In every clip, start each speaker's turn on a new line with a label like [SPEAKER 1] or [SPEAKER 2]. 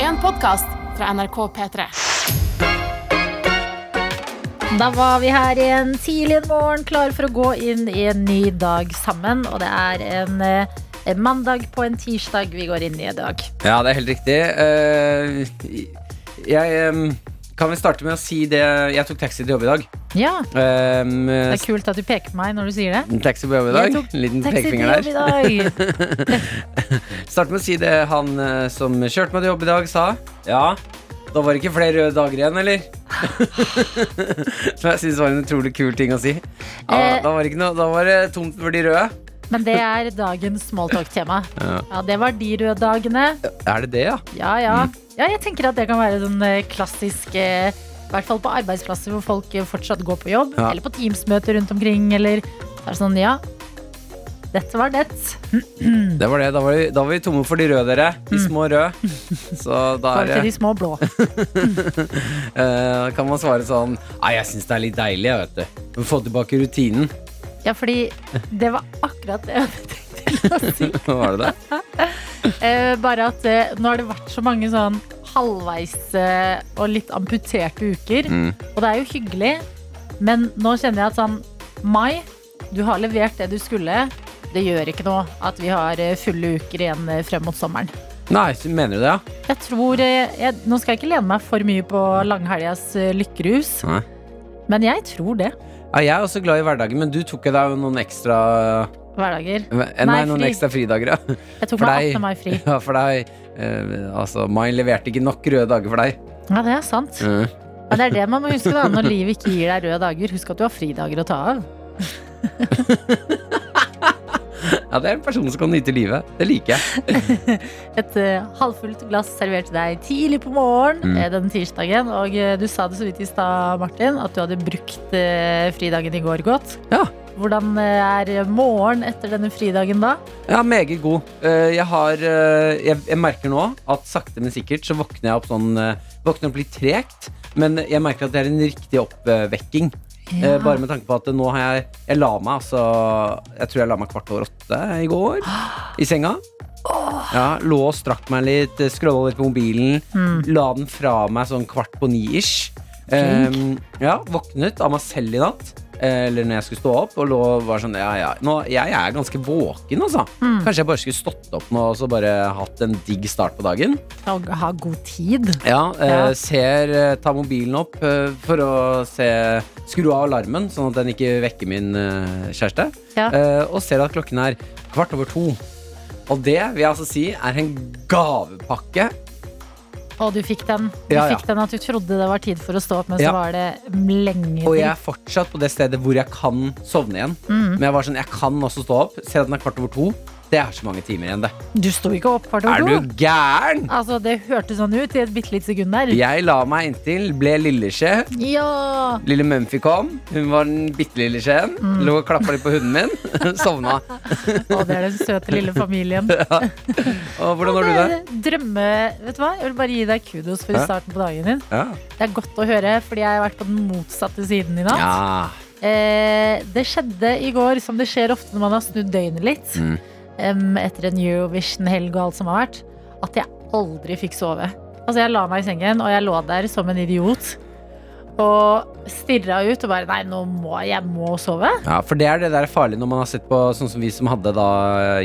[SPEAKER 1] en podkast fra NRK P3.
[SPEAKER 2] Da var vi her igjen tidlig en morgen, klar for å gå inn i en ny dag sammen. Og det er en eh, en mandag på en tirsdag vi går inn i i dag.
[SPEAKER 3] Ja, det er helt riktig. Eh, jeg eh, kan vel starte med å si det Jeg tok taxi til jobb i dag.
[SPEAKER 2] Ja,
[SPEAKER 3] Eh,
[SPEAKER 2] det er kult at du peker på meg når du sier det.
[SPEAKER 3] liten taxi på jobb i
[SPEAKER 2] Jeg
[SPEAKER 3] dag.
[SPEAKER 2] tok
[SPEAKER 3] Liten
[SPEAKER 2] Taxi til
[SPEAKER 3] pekefinger
[SPEAKER 2] jobb i
[SPEAKER 3] der.
[SPEAKER 2] dag.
[SPEAKER 3] Start med å si det han eh, som kjørte meg til jobb i dag, sa. Ja, da var det ikke flere røde dager igjen, eller? Som jeg syns var en utrolig kul ting å si. Ja,
[SPEAKER 2] Eh.
[SPEAKER 3] da var det ikke noe Da var det tomt for de røde.
[SPEAKER 2] Men det er dagens smalltalk-tema.
[SPEAKER 3] Ja.
[SPEAKER 2] Ja, det var de røde dagene.
[SPEAKER 3] Er det det, ja?
[SPEAKER 2] Ja, ja.
[SPEAKER 3] Mm.
[SPEAKER 2] ja, jeg tenker at det kan være sånn eh, klassisk eh, I hvert fall på arbeidsplasser hvor folk eh, fortsatt går på jobb.
[SPEAKER 3] Ja.
[SPEAKER 2] Eller på Teams-møter rundt omkring. Eller så er det sånn, ja. Dette var det.
[SPEAKER 3] Det var det. Da var vi, da var vi tomme for de røde, dere. De små røde. Så da
[SPEAKER 2] Bare Mm.
[SPEAKER 3] er
[SPEAKER 2] til
[SPEAKER 3] det
[SPEAKER 2] de små blå.
[SPEAKER 3] Eh, kan man svare sånn Nei, jeg syns det er litt deilig, jeg, vet du. Få tilbake rutinen.
[SPEAKER 2] Ja, fordi det var akkurat det jeg tenkte å si.
[SPEAKER 3] Var det det?
[SPEAKER 2] Eh, bare at eh, nå har det vært så mange sånn halvveis eh, og litt amputerte uker.
[SPEAKER 3] Mm.
[SPEAKER 2] Og det er jo hyggelig, men nå kjenner jeg at sånn Mai, du har levert det du skulle. Det gjør ikke noe at vi har eh, fulle uker igjen eh, frem mot sommeren.
[SPEAKER 3] Nei, så mener du det, ja?
[SPEAKER 2] Jeg tror eh, jeg, Nå skal jeg ikke lene meg for mye på langhelgas eh, lykkerus,
[SPEAKER 3] Nei.
[SPEAKER 2] men jeg tror det.
[SPEAKER 3] Ja, jeg er også glad i hverdagen, men du tok jo deg jo noen ekstra
[SPEAKER 2] Hverdager.
[SPEAKER 3] eh, Nei,
[SPEAKER 2] Nei,
[SPEAKER 3] noen
[SPEAKER 2] fri.
[SPEAKER 3] ekstra fridager, ja.
[SPEAKER 2] Jeg tok
[SPEAKER 3] For
[SPEAKER 2] meg
[SPEAKER 3] deg.
[SPEAKER 2] 18. mai fri.
[SPEAKER 3] ja for deg eh, Altså, Mai leverte ikke nok røde dager for deg.
[SPEAKER 2] Ja, det er sant.
[SPEAKER 3] Mm.
[SPEAKER 2] Men det er det man må huske da, når livet ikke gir deg røde dager. Husk at du har fridager å ta av.
[SPEAKER 3] Ja, det er en person som kan nyte livet. Det liker jeg.
[SPEAKER 2] Et eh, halvfullt glass servert til deg tidlig på morgen
[SPEAKER 3] Mm.
[SPEAKER 2] eh, denne tirsdagen. Og eh, du sa det så vidt i stad, Martin, at du hadde brukt eh, fridagen i går godt.
[SPEAKER 3] Ja.
[SPEAKER 2] Hvordan eh, er morgen etter denne fridagen da?
[SPEAKER 3] Ja, meget god. Eh, jeg har eh, jeg, jeg merker nå at sakte, men sikkert så våkner jeg opp sånn eh, Våkner opp litt tregt, men jeg merker at det er en riktig oppvekking. Eh, Bare med tanke på at nå har jeg Jeg la meg altså Jeg tror jeg la meg kvart over åtte i går. I senga. Ja, lå og strakk meg litt, eh, scrolla litt på mobilen.
[SPEAKER 2] Mm.
[SPEAKER 3] La den fra meg sånn kvart på ni-ish. Ehm, ja, våknet av meg selv i natt. eh, Eller når jeg skulle stå opp, og lå og var sånn ja, ja. Nå, jeg er ganske våken, altså.
[SPEAKER 2] Mm.
[SPEAKER 3] Kanskje jeg bare skulle stått opp nå og så bare hatt en digg start på dagen.
[SPEAKER 2] Og ha god tid.
[SPEAKER 3] Ja, eh,
[SPEAKER 2] Ja.
[SPEAKER 3] ser eh, Ta mobilen opp eh, for å se Skru av alarmen, sånn at den ikke vekker min eh, kjæreste.
[SPEAKER 2] Ja.
[SPEAKER 3] Eh, og ser at klokken er kvart over to. Og det vil jeg altså si er en gavepakke.
[SPEAKER 2] Og du fikk den. Du
[SPEAKER 3] Ja, ja.
[SPEAKER 2] fikk den at du trodde det var tid for å stå opp, men
[SPEAKER 3] Ja.
[SPEAKER 2] så var det lenge
[SPEAKER 3] Og
[SPEAKER 2] til.
[SPEAKER 3] jeg er fortsatt på det stedet hvor jeg kan sovne igjen.
[SPEAKER 2] Mm.
[SPEAKER 3] Men jeg var sånn, jeg kan også stå opp. Ser at den er kvart over to. Det er så mange timer igjen, det.
[SPEAKER 2] Du sto ikke opp kvart over
[SPEAKER 3] Er
[SPEAKER 2] to.
[SPEAKER 3] du gæren?
[SPEAKER 2] Altså, det hørtes sånn ut i et bitte lite sekund der.
[SPEAKER 3] Jeg la meg inntil, ble lilleskje.
[SPEAKER 2] ja.
[SPEAKER 3] Lille Mumphy kom. Hun var den bitte lille skjeen.
[SPEAKER 2] Mm.
[SPEAKER 3] Lå og klappa litt på hunden min. Sovna.
[SPEAKER 2] Å, det er den søte lille familien.
[SPEAKER 3] Og hvordan har du det?
[SPEAKER 2] Drømme, vet du hva? Jeg vil bare gi deg kudos for
[SPEAKER 3] Hæ?
[SPEAKER 2] starten på dagen din.
[SPEAKER 3] Ja.
[SPEAKER 2] Det er godt å høre, fordi jeg har vært på den motsatte siden i natt.
[SPEAKER 3] Ja.
[SPEAKER 2] Eh, det skjedde i går, som det skjer ofte når man har snudd døgnet litt,
[SPEAKER 3] Mm.
[SPEAKER 2] em, etter en Eurovision-helg og alt som har vært, at jeg aldri fikk sove. Altså, jeg la meg i sengen, og jeg lå der som en idiot. Og stirra ut og bare Nei, nå må jeg, jeg må sove.
[SPEAKER 3] ja, for det er det der farlige når man har sett på sånn som vi som hadde da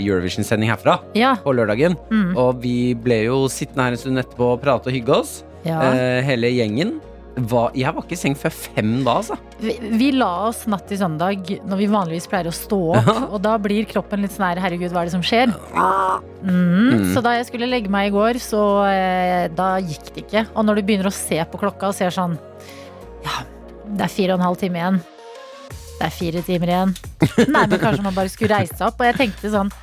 [SPEAKER 3] Eurovision-sending herfra
[SPEAKER 2] Ja.
[SPEAKER 3] på lørdagen.
[SPEAKER 2] Mm.
[SPEAKER 3] Og vi ble jo sittende her en stund etterpå og prate og hygge oss.
[SPEAKER 2] ja.
[SPEAKER 3] Eh, hele gjengen. Var, jeg var ikke i seng før fem da, altså.
[SPEAKER 2] Vi, vi la oss natt til søndag når vi vanligvis pleier å stå opp. Og da blir kroppen litt sånn her Herregud, hva er det som skjer? Mm.
[SPEAKER 3] Mm.
[SPEAKER 2] Så da jeg skulle legge meg i går, så eh, da gikk det ikke. Og når du begynner å se på klokka og ser sånn Ja, det er fire og en halv time igjen. Det er fire timer igjen. Nei, men kanskje man bare skulle reise seg opp. Og jeg tenkte sånn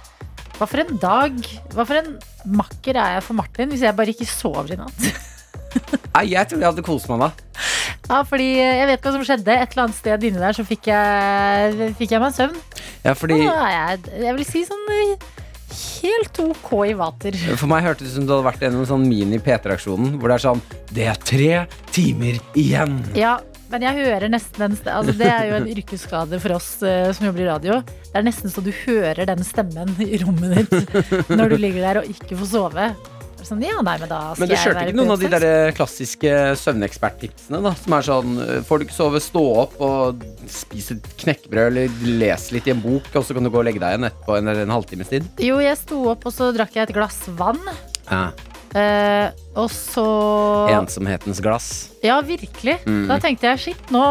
[SPEAKER 2] Hva for en dag? Hva for en makker er jeg for Martin hvis jeg bare ikke sover i natt?
[SPEAKER 3] Nei, jeg trodde jeg hadde kost meg da.
[SPEAKER 2] Ja, fordi eh, jeg vet ikke hva som skjedde. Et eller annet sted inni der så fikk jeg, fikk jeg meg en søvn.
[SPEAKER 3] Ja, fordi
[SPEAKER 2] Og nå er jeg, jeg vil si sånn eh, helt OK i vater.
[SPEAKER 3] For meg hørtes det ut som du hadde vært gjennom en sånn mini-P3-aksjonen hvor det er sånn Det er tre timer igjen!
[SPEAKER 2] Ja, men jeg hører nesten den st- altså, Det er jo en yrkesskade for oss eh, som jobber i radio. Det er nesten så du hører den stemmen i rommet ditt når du ligger der og ikke får sove. Sånn, ja, nei, men da skal
[SPEAKER 3] Men du
[SPEAKER 2] jeg
[SPEAKER 3] kjørte
[SPEAKER 2] være
[SPEAKER 3] ikke
[SPEAKER 2] på
[SPEAKER 3] noen av de
[SPEAKER 2] utfest.
[SPEAKER 3] der søvnekspert søvneksperttipsene, da? Som er sånn eh, Får du ikke sove, stå opp og spis et knekkebrød, eller les litt i en bok, og så kan du gå og legge deg igjen etterpå en, eller en halvtimes tid?
[SPEAKER 2] Jo, jeg sto opp, og så drakk jeg et glass vann.
[SPEAKER 3] Ja.
[SPEAKER 2] Eh, og så
[SPEAKER 3] Ensomhetens glass.
[SPEAKER 2] Ja, virkelig.
[SPEAKER 3] Mm.
[SPEAKER 2] Da tenkte jeg shit, nå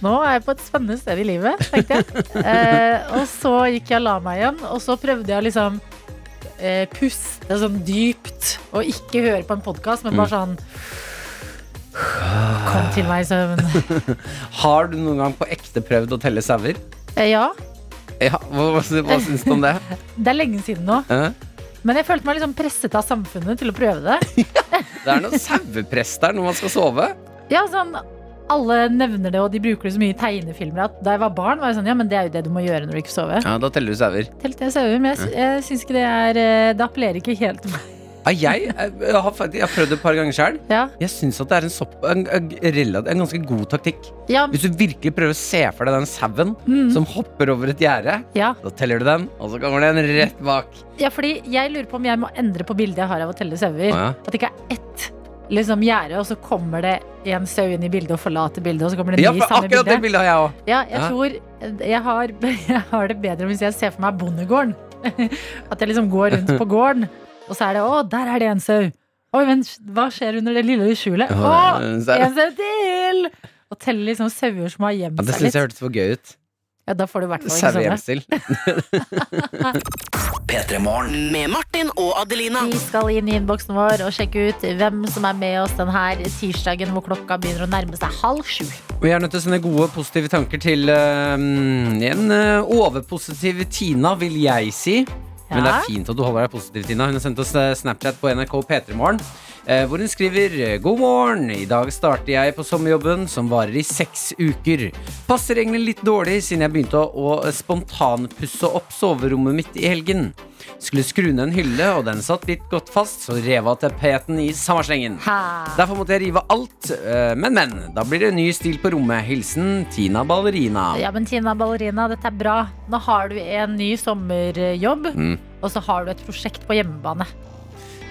[SPEAKER 2] Nå er jeg på et spennende sted i livet, tenkte jeg. Eh, og så gikk jeg og la meg igjen, og så prøvde jeg å liksom eh, puste sånn dypt og ikke høre på en podkast, men bare sånn Kom til meg i søvn.
[SPEAKER 3] Har du noen gang på ekte prøvd å telle sauer?
[SPEAKER 2] Eh, ja,
[SPEAKER 3] Ja, hva, hva, sy- hva syns du om det?
[SPEAKER 2] det er lenge siden nå,
[SPEAKER 3] Eh?
[SPEAKER 2] men jeg følte meg liksom presset av samfunnet til å prøve det.
[SPEAKER 3] Det er noe sauepress der når man skal sove.
[SPEAKER 2] Ja, sånn alle nevner det, og de bruker det så mye i tegnefilmer. At da jeg var barn, var jeg sånn Ja, men det er jo det du må gjøre når du ikke sover.
[SPEAKER 3] Ja, Da teller du sauer.
[SPEAKER 2] Telte jeg sauer, men jeg, sy- jeg syns ikke det er eh, Det appellerer ikke helt til meg.
[SPEAKER 3] Ja, Ah, jeg, jeg, jeg, har, faktisk- jeg har prøvd det et par ganger sjøl.
[SPEAKER 2] Ja.
[SPEAKER 3] Jeg syns at det er en, sopp, en, en, relat- en ganske god taktikk.
[SPEAKER 2] Ja,
[SPEAKER 3] Hvis du virkelig prøver å se for deg den sauen
[SPEAKER 2] mm,
[SPEAKER 3] som hopper over et gjerde,
[SPEAKER 2] ja.
[SPEAKER 3] da teller du den, og så kommer den rett bak.
[SPEAKER 2] ja, fordi jeg lurer på om jeg må endre på bildet jeg har av å telle sauer.
[SPEAKER 3] Å, ja.
[SPEAKER 2] At det ikke er ett liksom gjerde, og så kommer det en sau inn i bildet og forlater bildet, og så kommer det
[SPEAKER 3] Ja,
[SPEAKER 2] en ny i
[SPEAKER 3] for
[SPEAKER 2] samme
[SPEAKER 3] akkurat det
[SPEAKER 2] bilde.
[SPEAKER 3] bildet har jeg òg.
[SPEAKER 2] Ja, jeg
[SPEAKER 3] Ja.
[SPEAKER 2] tror jeg har, jeg har det bedre hvis jeg ser for meg bondegården. At jeg liksom går rundt på gården, og så er det 'Å, der er det en sau'. Oi, men hva skjer under det lille skjulet?
[SPEAKER 3] Ja, eh,
[SPEAKER 2] Å,
[SPEAKER 3] en sau.
[SPEAKER 2] en sau til! Og telle liksom sauer som har gjemt
[SPEAKER 3] Ja, det
[SPEAKER 2] seg
[SPEAKER 3] syns
[SPEAKER 2] litt.
[SPEAKER 3] jeg hørtes for gøy ut.
[SPEAKER 2] Ja, da får du i hvert fall
[SPEAKER 3] sånn,
[SPEAKER 2] ikke sånne.
[SPEAKER 3] Sauegjemsel.
[SPEAKER 4] Med Martin og Adelina.
[SPEAKER 2] Vi skal inn i innboksen vår og sjekke ut hvem som er med oss denne tirsdagen hvor klokka begynner å nærme seg halv sju.
[SPEAKER 3] Vi er nødt til å sende gode, positive tanker til eh, en eh, overpositiv Tina, vil jeg si. Men det
[SPEAKER 2] Ja.
[SPEAKER 3] er fint at du holder deg positiv, Tina. Hun har sendt oss eh, Snapchat på NRK P3morgen. eh, Hvor hun skriver God morgen, i dag starter jeg på sommerjobben som varer i seks uker. Passer egentlig litt dårlig siden jeg begynte å, å spontanpusse opp soverommet mitt i helgen. Skulle skru ned en hylle, og den satt litt godt fast, så rev av tapeten i samme slengen.
[SPEAKER 2] Ha.
[SPEAKER 3] Derfor måtte jeg rive alt, eh, men men, da blir det ny stil på rommet. Hilsen Tina Ballerina.
[SPEAKER 2] Ja, men Tina Ballerina, dette er bra. Nå har du en ny sommerjobb,
[SPEAKER 3] Mm.
[SPEAKER 2] og så har du et prosjekt på hjemmebane.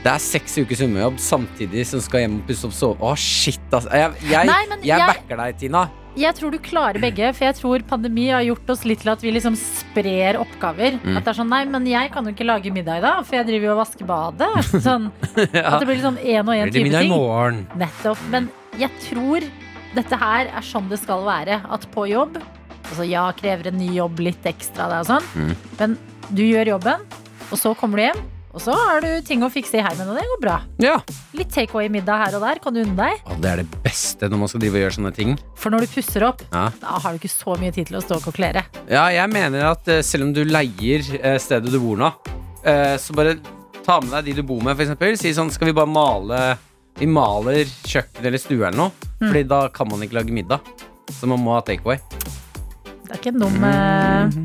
[SPEAKER 3] Det er seks ukers sommerjobb samtidig som skal hjem og pusse opp sove. Å, shit, altså. Jeg, jeg,
[SPEAKER 2] Nei, men
[SPEAKER 3] jeg
[SPEAKER 2] jeg-
[SPEAKER 3] backer deg, Tina.
[SPEAKER 2] Jeg tror du klarer begge, for jeg tror pandemi har gjort oss litt til at vi liksom sprer oppgaver.
[SPEAKER 3] Mm.
[SPEAKER 2] At det er sånn, nei, men jeg kan jo ikke lage middag i dag, for jeg driver jo og vasker badet. Sånn, At det blir liksom én og
[SPEAKER 3] Blir
[SPEAKER 2] én
[SPEAKER 3] det
[SPEAKER 2] type
[SPEAKER 3] middag i
[SPEAKER 2] ting.
[SPEAKER 3] morgen?
[SPEAKER 2] Nettopp. Men jeg tror dette her er sånn det skal være. At på jobb Altså ja, krever en ny jobb litt ekstra, det er sånn.
[SPEAKER 3] Mm.
[SPEAKER 2] Men du gjør jobben, og så kommer du hjem. Og så har du ting å fikse i heimen, og det går bra.
[SPEAKER 3] Ja.
[SPEAKER 2] Litt take away-middag her og der kan du unne deg.
[SPEAKER 3] Å, det er det beste når man skal drive og gjøre sånne ting.
[SPEAKER 2] For når du pusser opp,
[SPEAKER 3] Ja.
[SPEAKER 2] da har du ikke så mye tid til å stå og koklere.
[SPEAKER 3] Ja, jeg mener at eh, selv om du leier eh, stedet du bor nå, eh, så bare ta med deg de du bor med, for eksempel. Si sånn, skal vi bare male Vi maler kjøkkenet eller stua eller noe.
[SPEAKER 2] Mm.
[SPEAKER 3] Fordi da kan man ikke lage middag. Så man må ha takeaway.
[SPEAKER 2] Det er ikke dum eh,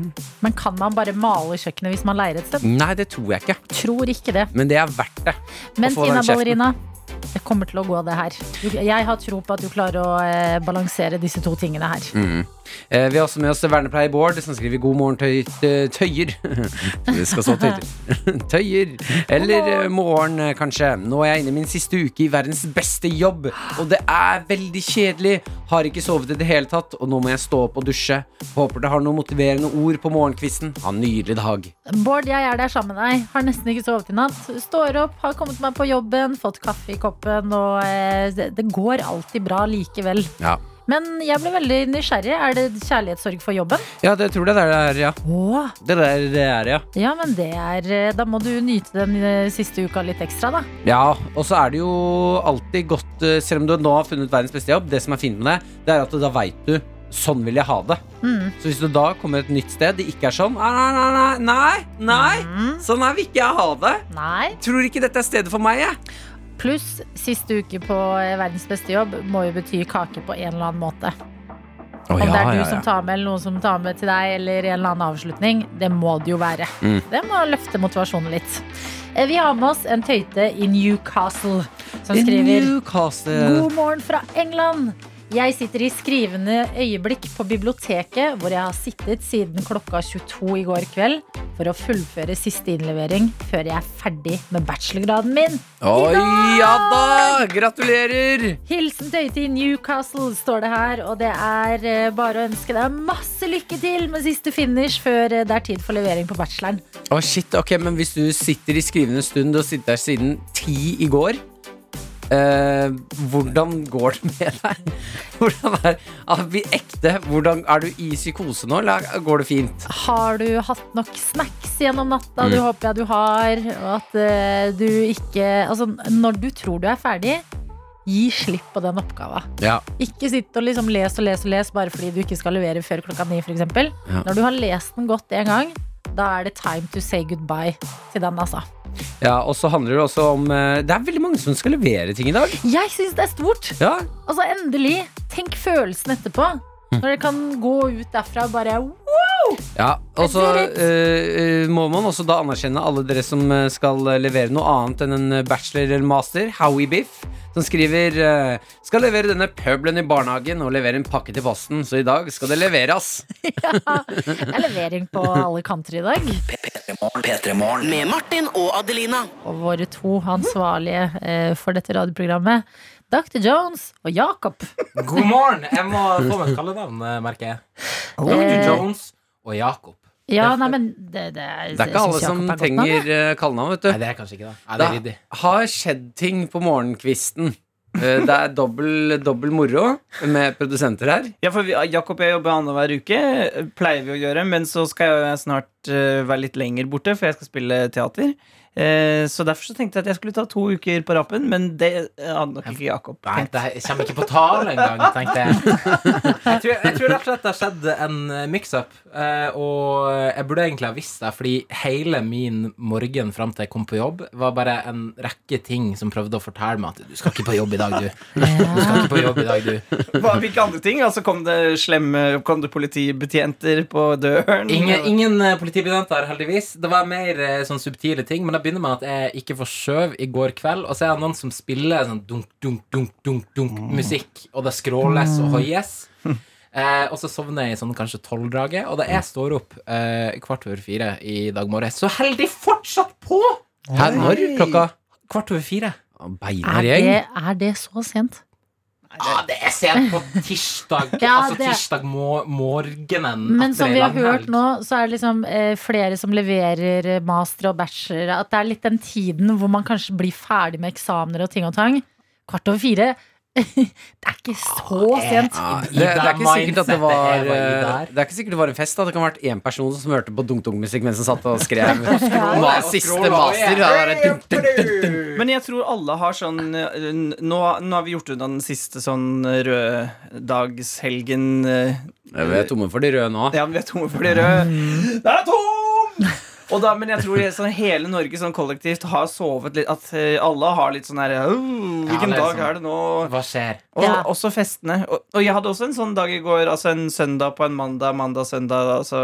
[SPEAKER 2] Men kan man bare male kjøkkenet hvis man leier et sted?
[SPEAKER 3] Nei, det tror jeg ikke.
[SPEAKER 2] Tror ikke det.
[SPEAKER 3] Men det er verdt det.
[SPEAKER 2] Men
[SPEAKER 3] å få
[SPEAKER 2] Tina
[SPEAKER 3] den kjeften.
[SPEAKER 2] Ballerina, det kommer til å gå det her. Du- Jeg har tro på at du klarer å eh, balansere disse to tingene her.
[SPEAKER 3] Eh, vi har også med oss vernepleier Bård, som skriver 'God morgen, tøy, tø- tøyer'. det skal stå tøyer. tøyer. Eller eh, morgen, eh, kanskje. Nå er jeg inne i min siste uke i verdens beste jobb, og det er veldig kjedelig. Har ikke sovet i det hele tatt, og nå må jeg stå opp og dusje. Håper det har noen motiverende ord på morgenkvisten. Ha en nydelig dag.
[SPEAKER 2] Bård, jeg er der sammen med deg. Har nesten ikke sovet i natt. Står opp, har kommet meg på jobben, fått kaffe i koppen, og eh, det det går alltid bra likevel.
[SPEAKER 3] Ja,
[SPEAKER 2] Men jeg ble veldig nysgjerrig. Er det kjærlighetssorg for jobben?
[SPEAKER 3] ja det tror jeg det er, ja.
[SPEAKER 2] Åh,
[SPEAKER 3] Det der det er, ja.
[SPEAKER 2] ja, men det er eh, Da må du nyte den eh, siste uka litt ekstra, da.
[SPEAKER 3] Ja, og så er det jo alltid godt eh, Selv om du nå har funnet verdens beste jobb Det som er fint med det, det er at da vet du Sånn vil jeg ha det
[SPEAKER 2] Mm.
[SPEAKER 3] Så hvis du da kommer et nytt sted Det ikke er sånn Nei, nei, nei, nei, nei
[SPEAKER 2] Mm.
[SPEAKER 3] Sånn her vil ikke jeg ha det
[SPEAKER 2] Nei.
[SPEAKER 3] Tror ikke dette er stedet for meg, jeg
[SPEAKER 2] Pluss siste uke på eh, verdens beste jobb må jo bety kake på en eller annen måte. Om det er du som tar med, eller noen som tar med til deg, eller en eller annen avslutning, det må det jo være.
[SPEAKER 3] Mm.
[SPEAKER 2] Det må løfte motivasjonen litt. Eh, Vi har med oss en tøyte i Newcastle som
[SPEAKER 3] I
[SPEAKER 2] skriver
[SPEAKER 3] Newcastle
[SPEAKER 2] God morgen fra England. Jeg sitter i skrivende øyeblikk på biblioteket, hvor jeg har sittet siden klokka 22 i går kveld, for å fullføre siste innlevering før jeg er ferdig med bachelorgraden min.
[SPEAKER 3] Oi, ja da! Gratulerer!
[SPEAKER 2] Hilsen Tøyte i Newcastle, står det her. Og det er eh, bare å ønske deg masse lykke til med siste finish før eh, det er tid for levering på bacheloren.
[SPEAKER 3] Å shit, ok, Men hvis du sitter i skrivende stund og sitter der siden ti i går eh, Hvordan går det med deg? Hvordan er, er vi ekte? Hvordan, er du i psykose nå, eller går det fint?
[SPEAKER 2] Har du hatt nok snacks gjennom natta? Det håper jeg du har. Og at eh, du ikke Altså, når du tror du er ferdig, gi slipp på den oppgava.
[SPEAKER 3] Ja,
[SPEAKER 2] Ikke sitt og liksom les og les og les bare fordi du ikke skal levere før klokka ni, f.eks.
[SPEAKER 3] Ja.
[SPEAKER 2] Når du har lest den godt en gang, da er det time to say goodbye til den, altså.
[SPEAKER 3] ja Og så handler det også om eh, Det er veldig mange som skal levere ting i dag.
[SPEAKER 2] Jeg syns det er stort!
[SPEAKER 3] Ja,
[SPEAKER 2] Altså, endelig. Tenk følelsen etterpå. Når dere kan gå ut derfra og bare wow!
[SPEAKER 3] ja Og så
[SPEAKER 2] Det er dritt.
[SPEAKER 3] eh, eh, må man også da anerkjenne alle dere som eh, skal levere noe annet enn en eh, bachelor eller master. Howie Biff. Som skriver eh, Skal levere denne pøbelen i barnehagen og levere en pakke til posten, så i dag skal det leveres.
[SPEAKER 2] Det er levering på alle kanter i dag.
[SPEAKER 4] Med Martin og Adelina.
[SPEAKER 2] Og våre to ansvarlige eh, for dette radioprogrammet, Dr. Jones og Jacob.
[SPEAKER 5] God morgen! Jeg må få meg et kallenavn, eh, merker jeg.
[SPEAKER 6] Eh,
[SPEAKER 5] Dr. Jones og Jakob.
[SPEAKER 2] Ja, nei, men det, det, er-
[SPEAKER 3] Det er ikke
[SPEAKER 2] jeg
[SPEAKER 3] alle
[SPEAKER 2] synes
[SPEAKER 3] som
[SPEAKER 2] Jacob er godt navn, jeg.
[SPEAKER 3] trenger eh, kallenavn, vet
[SPEAKER 5] Nei,
[SPEAKER 3] du.
[SPEAKER 5] det er kanskje ikke det. Nei, det
[SPEAKER 3] Det
[SPEAKER 5] er ryddig.
[SPEAKER 3] har skjedd ting på morgenkvisten. Eh, Det er dobbel, dobbel moro med produsenter her.
[SPEAKER 6] Ja, for vi, Jakob og jeg jobber annenhver uke, pleier vi å gjøre. Men så skal jeg snart eh, være litt lenger borte, for jeg skal spille teater. Eh, så derfor så tenkte jeg at jeg skulle ta to uker på rappen, men det eh, hadde nok ikke Jakob.
[SPEAKER 5] Nei,
[SPEAKER 6] tenkt.
[SPEAKER 5] det her kommer ikke på tale engang, tenkte jeg. Jeg tror, jeg tror rett og slett det har skjedd en eh, mix-up. eh, Og jeg burde egentlig ha visst det, fordi hele min morgen fram til jeg kom på jobb, var bare en rekke ting som prøvde å fortelle meg at du skal ikke på jobb i dag, du. Du skal ikke på jobb i dag, du.
[SPEAKER 6] Hva, hvilke andre ting? Altså kom det slemme Kom det politibetjenter på
[SPEAKER 3] Mm.
[SPEAKER 6] døren?
[SPEAKER 5] Ingen, ingen eh, politibetjenter, heldigvis. Det var mer eh, sånn subtile ting. Men det begynner med at jeg ikke får skjøv i går kveld, og så er det noen som spiller sånn dunk, dunk, dunk, dunk, dunk
[SPEAKER 3] Mm.
[SPEAKER 5] musikk, og det skråles
[SPEAKER 2] Mm.
[SPEAKER 5] og hoies.
[SPEAKER 2] Hm.
[SPEAKER 5] Eh, og så sovner jeg i sånn kanskje tolvdraget, og da
[SPEAKER 3] Hm.
[SPEAKER 5] jeg står opp eh, kvart over fire i dag morges, så holder de fortsatt på!
[SPEAKER 3] Her når klokka
[SPEAKER 5] Kvart over fire.
[SPEAKER 3] Beinar
[SPEAKER 2] Er
[SPEAKER 3] gjeng.
[SPEAKER 2] det, er det så sent?
[SPEAKER 5] Ja, det er sent på tirsdag.
[SPEAKER 2] Ja,
[SPEAKER 5] altså
[SPEAKER 2] det-
[SPEAKER 5] tirsdag må morgenen.
[SPEAKER 2] Men
[SPEAKER 5] etter
[SPEAKER 2] som
[SPEAKER 5] en
[SPEAKER 2] vi har
[SPEAKER 5] lang
[SPEAKER 2] hørt
[SPEAKER 5] helg.
[SPEAKER 2] nå, så er det liksom eh, flere som leverer eh, master og bachelor. At det er litt den tiden hvor man kanskje blir ferdig med eksamener og ting og tang. Kvart over fire. det er ikke så sent.
[SPEAKER 3] Ja, Ah, det,
[SPEAKER 5] I
[SPEAKER 3] det, er ikke
[SPEAKER 5] det
[SPEAKER 3] sikkert at det
[SPEAKER 5] mindsetet
[SPEAKER 3] var
[SPEAKER 5] jeg var i
[SPEAKER 3] eh,
[SPEAKER 5] der.
[SPEAKER 3] Det er ikke sikkert det var en fest. Da. Det kan ha vært én person som hørte på dunk-dunk-musikk mens han satt og skrev ma
[SPEAKER 5] og
[SPEAKER 3] siste
[SPEAKER 5] scrolla,
[SPEAKER 3] master.
[SPEAKER 5] ja.
[SPEAKER 3] Da var det dunk, dunk, dunk.
[SPEAKER 6] Men jeg tror alle har sånn eh, n- Nå, nå har vi gjort unna den siste sånn røddagshelgen. eh,
[SPEAKER 3] Vi er tomme for de røde nå.
[SPEAKER 6] Ja, men vi er tomme for de
[SPEAKER 5] Mm.
[SPEAKER 6] røde. Det er tom! Og da, men jeg tror det- sånn, hele Norge sånn kollektivt har sovet litt. At eh, alle har litt sånn her «Åh,
[SPEAKER 5] Ja,
[SPEAKER 6] Hvilken
[SPEAKER 5] det er
[SPEAKER 6] dag
[SPEAKER 5] sånn.
[SPEAKER 6] er det nå?
[SPEAKER 5] Hva skjer?
[SPEAKER 6] Og
[SPEAKER 2] Ja.
[SPEAKER 6] også festene. Og, og jeg hadde også en sånn dag i går. Altså en søndag på en mandag, mandag, søndag. Altså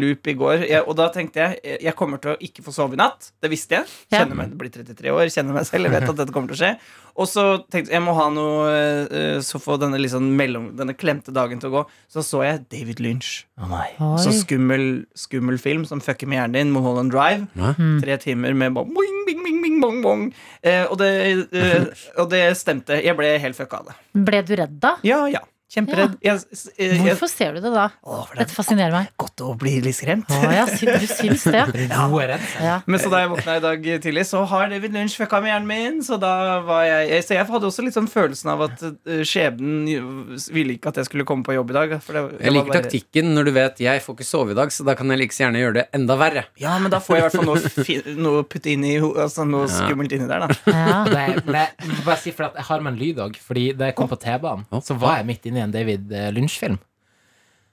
[SPEAKER 6] loop i går. Jeg, og da tenkte jeg eh, jeg kommer til å ikke få sove i natt. Det visste jeg.
[SPEAKER 2] Ja.
[SPEAKER 6] Kjenner meg, blir 33 år, kjenner meg selv. Jeg vet at dette kommer til å skje. Og så tenkte jeg jeg må ha noe eh, Så få denne, litt sånn mellom, denne klemte dagen til å gå. Så så jeg David Lynch.
[SPEAKER 5] Å nei.
[SPEAKER 6] Så
[SPEAKER 2] Oi.
[SPEAKER 6] skummel, skummel film som fucker med hjernen din. Mulholland Drive.
[SPEAKER 3] Hæ?
[SPEAKER 2] Hmm.
[SPEAKER 6] Tre timer med bare boing, bing, bing, bing, bong, bong. Eh, og, det, eh, og det stemte. Jeg ble helt fucka av det.
[SPEAKER 2] Ble du redd da?
[SPEAKER 6] Ja, ja. Kjemperedd. Jeg, s- eh, jeg,
[SPEAKER 2] Hvorfor ser du det da?
[SPEAKER 6] Å, for det
[SPEAKER 2] Dette fascinerer meg.
[SPEAKER 6] er godt å bli litt skremt.
[SPEAKER 2] Å ja, sy- du syns det?
[SPEAKER 5] Gode redsel.
[SPEAKER 2] Ja.
[SPEAKER 6] Men så da jeg våkna i dag tidlig, så har David Lynch fucka med hjernen min. Så da var jeg jeg- Så jeg hadde også litt sånn følelsen av at eh, skjebnen jo- ville ikke at jeg skulle komme på jobb i dag. For det, det
[SPEAKER 3] Jeg
[SPEAKER 6] var
[SPEAKER 3] liker
[SPEAKER 6] bare-
[SPEAKER 3] taktikken når du vet jeg får ikke sove i dag, så da kan jeg like så gjerne gjøre det enda verre.
[SPEAKER 6] Ja, men da får jeg i hvert fall noe, fi- noe, putt inn i, ho- altså noe skummelt inni der, da.
[SPEAKER 2] Ja.
[SPEAKER 5] Det, men jeg må bare si for at jeg har med en lyd òg. Fordi da jeg kom på T-banen, så var jeg midt inne i en David eh, Lynch-film.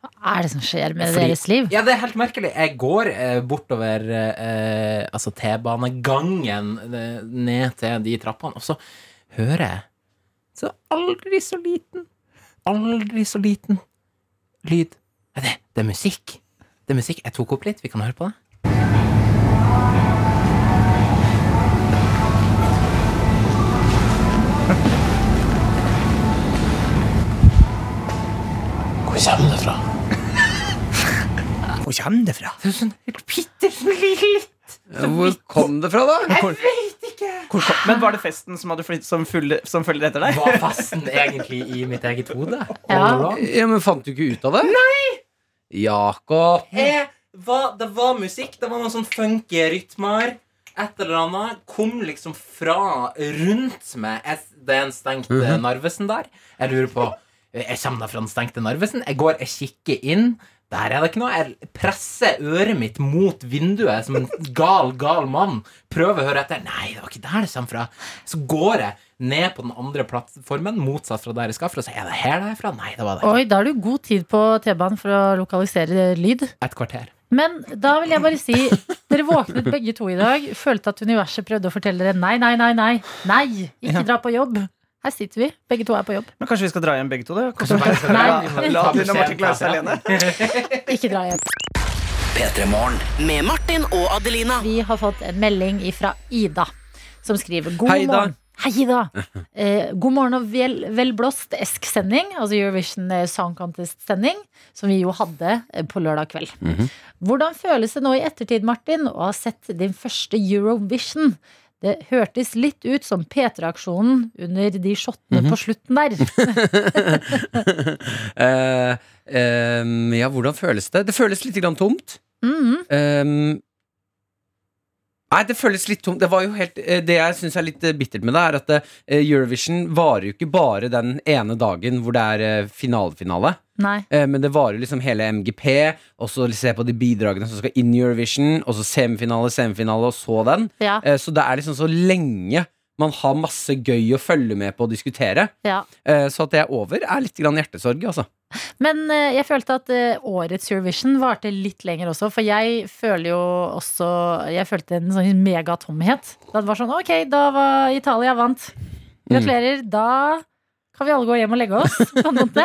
[SPEAKER 2] Hva er det som skjer med
[SPEAKER 5] Fordi-
[SPEAKER 2] deres liv?
[SPEAKER 5] Ja, det er helt merkelig. Jeg går eh, bortover eh, altså T-banegangen eh, ned til de trappene, og så hører jeg Så aldri så liten, aldri så liten lyd. Ja, Det, det er musikk. Det er musikk. Jeg tok opp litt. Vi kan høre på det.
[SPEAKER 6] Hvor kommer det fra?
[SPEAKER 5] Det er sånn helt bitte litt
[SPEAKER 3] Hvor kom det fra, da?
[SPEAKER 6] Hvor- Hvor kom- Men var det festen som, hadde flytt, som, fulgte- som følger etter deg?
[SPEAKER 5] Var fasten egentlig i mitt eget hode?
[SPEAKER 2] Ja.
[SPEAKER 5] All along?
[SPEAKER 3] Ja, men Fant du ikke ut av det? Nei Jakob.
[SPEAKER 5] Jeg var, det var musikk. Det var noen sånn funky rytmer. Et eller annet kom liksom fra rundt meg. Jeg, den stengte eh,
[SPEAKER 3] Mhm.
[SPEAKER 5] Narvesen der. Jeg lurer på eh, Jeg kommer da fra den stengte Narvesen. Jeg går, jeg kikker inn. Der er det ikke noe. Jeg presser øret mitt mot vinduet som en gal, gal mann. Prøver å høre etter. Nei, det var ikke der det kommer fra. Så går jeg ned på den andre plattformen, motsatt fra der jeg skal fra. Så er det her det er fra? Nei, det var der.
[SPEAKER 2] Oi, da har du god tid på T-banen for å lokalisere lyd.
[SPEAKER 5] Et kvarter.
[SPEAKER 2] Men da vil jeg bare si Dere våknet begge to i dag, følte at universet prøvde å fortelle dere nei, nei, nei, nei. Nei, ikke dra på jobb. Her sitter vi, begge to er på jobb.
[SPEAKER 6] Men Kanskje vi skal dra hjem begge to? Det?
[SPEAKER 5] Kanskje bare skal
[SPEAKER 2] Nei.
[SPEAKER 5] dra-
[SPEAKER 6] La
[SPEAKER 5] ta
[SPEAKER 6] Lina
[SPEAKER 5] museet
[SPEAKER 6] Martin klare seg
[SPEAKER 5] fra
[SPEAKER 6] alene.
[SPEAKER 2] Ikke dra hjem.
[SPEAKER 4] P3-morgen. Med Martin og Adelina.
[SPEAKER 2] Vi har fått en melding fra Ida, som skriver God
[SPEAKER 3] Hei, Ida.
[SPEAKER 2] morgen. Hei, Ida. Eh, god morgen og vel, velblåst ESK-sending, altså Eurovision eh, Song Contest-sending, som vi jo hadde eh, på lørdag kveld.
[SPEAKER 3] Mhm.
[SPEAKER 2] Hvordan føles det nå i ettertid, Martin, å ha sett din første Eurovision? Det hørtes litt ut som P3-aksjonen under de shottene
[SPEAKER 3] Mhm.
[SPEAKER 2] på slutten der.
[SPEAKER 3] Eh, ehm, ja, hvordan føles det? Det føles litt grann tomt.
[SPEAKER 2] Mhm.
[SPEAKER 3] Ehm, nei, det føles litt tomt. Det, var jo helt, eh, det jeg syns er litt eh, bittert med det, er at eh, Eurovision varer jo ikke bare den ene dagen hvor det er eh, finalefinale.
[SPEAKER 2] Nei.
[SPEAKER 3] Eh, Men det varer liksom hele MGP, og så se på de bidragene som skal inn i Eurovision, og så semifinale, semifinale, og så den.
[SPEAKER 2] Ja,
[SPEAKER 3] Eh, Så det er liksom så lenge man har masse gøy å følge med på og diskutere.
[SPEAKER 2] ja.
[SPEAKER 3] Eh, Så at det er over, er litt grann hjertesorg, altså.
[SPEAKER 2] Men eh, jeg følte at eh, årets Eurovision varte litt lenger også, for jeg føler jo også Jeg følte en sånn megatomhet. Da det var sånn Ok, da var Italia vant. Gratulerer. Da kan vi alle gå hjem og legge oss, på en måte.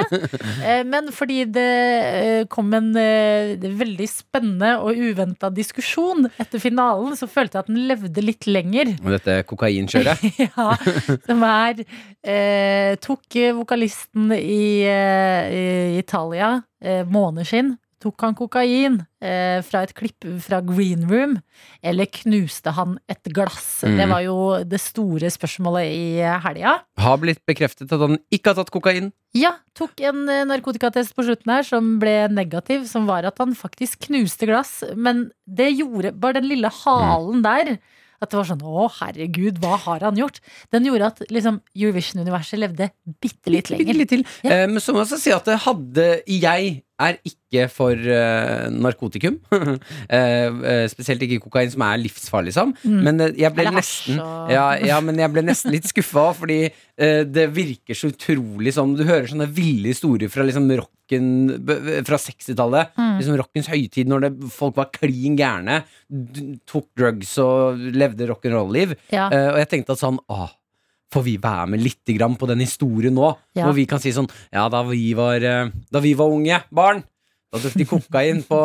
[SPEAKER 2] Eh, Men fordi det eh, kom en eh, veldig spennende og uventa diskusjon etter finalen, så følte jeg at den levde litt lenger.
[SPEAKER 3] Og dette kokainkjøret.
[SPEAKER 2] Ja, som er eh, Tok eh, vokalisten i, eh, i Italia eh, måneder siden Tok han kokain eh, fra et klipp fra Green Room Eller knuste han et glass
[SPEAKER 3] Mm.
[SPEAKER 2] Det var jo det store spørsmålet i eh, helga
[SPEAKER 3] Har blitt bekreftet at han ikke har tatt kokain.
[SPEAKER 2] ja, tok en eh, narkotikatest på slutten her som ble negativ, som var at han faktisk knuste glass. Men det gjorde bare den lille halen der. At det var sånn å herregud, hva har han gjort? Den gjorde at liksom, Eurovision-universet levde bitte litt lenger.
[SPEAKER 3] Litt til.
[SPEAKER 2] Ja.
[SPEAKER 3] Eh, Men så må jeg også si at det hadde Jeg er ikke for eh, narkotikum. Eh, eh, spesielt ikke kokain, som er livsfarlig, liksom.
[SPEAKER 2] Mm.
[SPEAKER 3] Men eh, jeg ble
[SPEAKER 2] Eller hasj
[SPEAKER 3] nesten
[SPEAKER 2] og-
[SPEAKER 3] ja, ja, men jeg ble nesten litt skuffa, fordi eh, det virker så utrolig sånn Du hører sånne ville historier fra liksom rocken b- b- fra 60-tallet.
[SPEAKER 2] Mm.
[SPEAKER 3] Liksom rockens høytid, når det, folk var klin gærne, d- tok drugs og levde rock'n'roll-liv.
[SPEAKER 2] Ja.
[SPEAKER 3] Eh, og jeg tenkte at sånn ah, Får vi være med litt grann på den historien nå?
[SPEAKER 2] Ja.
[SPEAKER 3] Hvor vi kan si sånn Ja, da vi var, eh, da vi var unge barn, da duftet de kokain på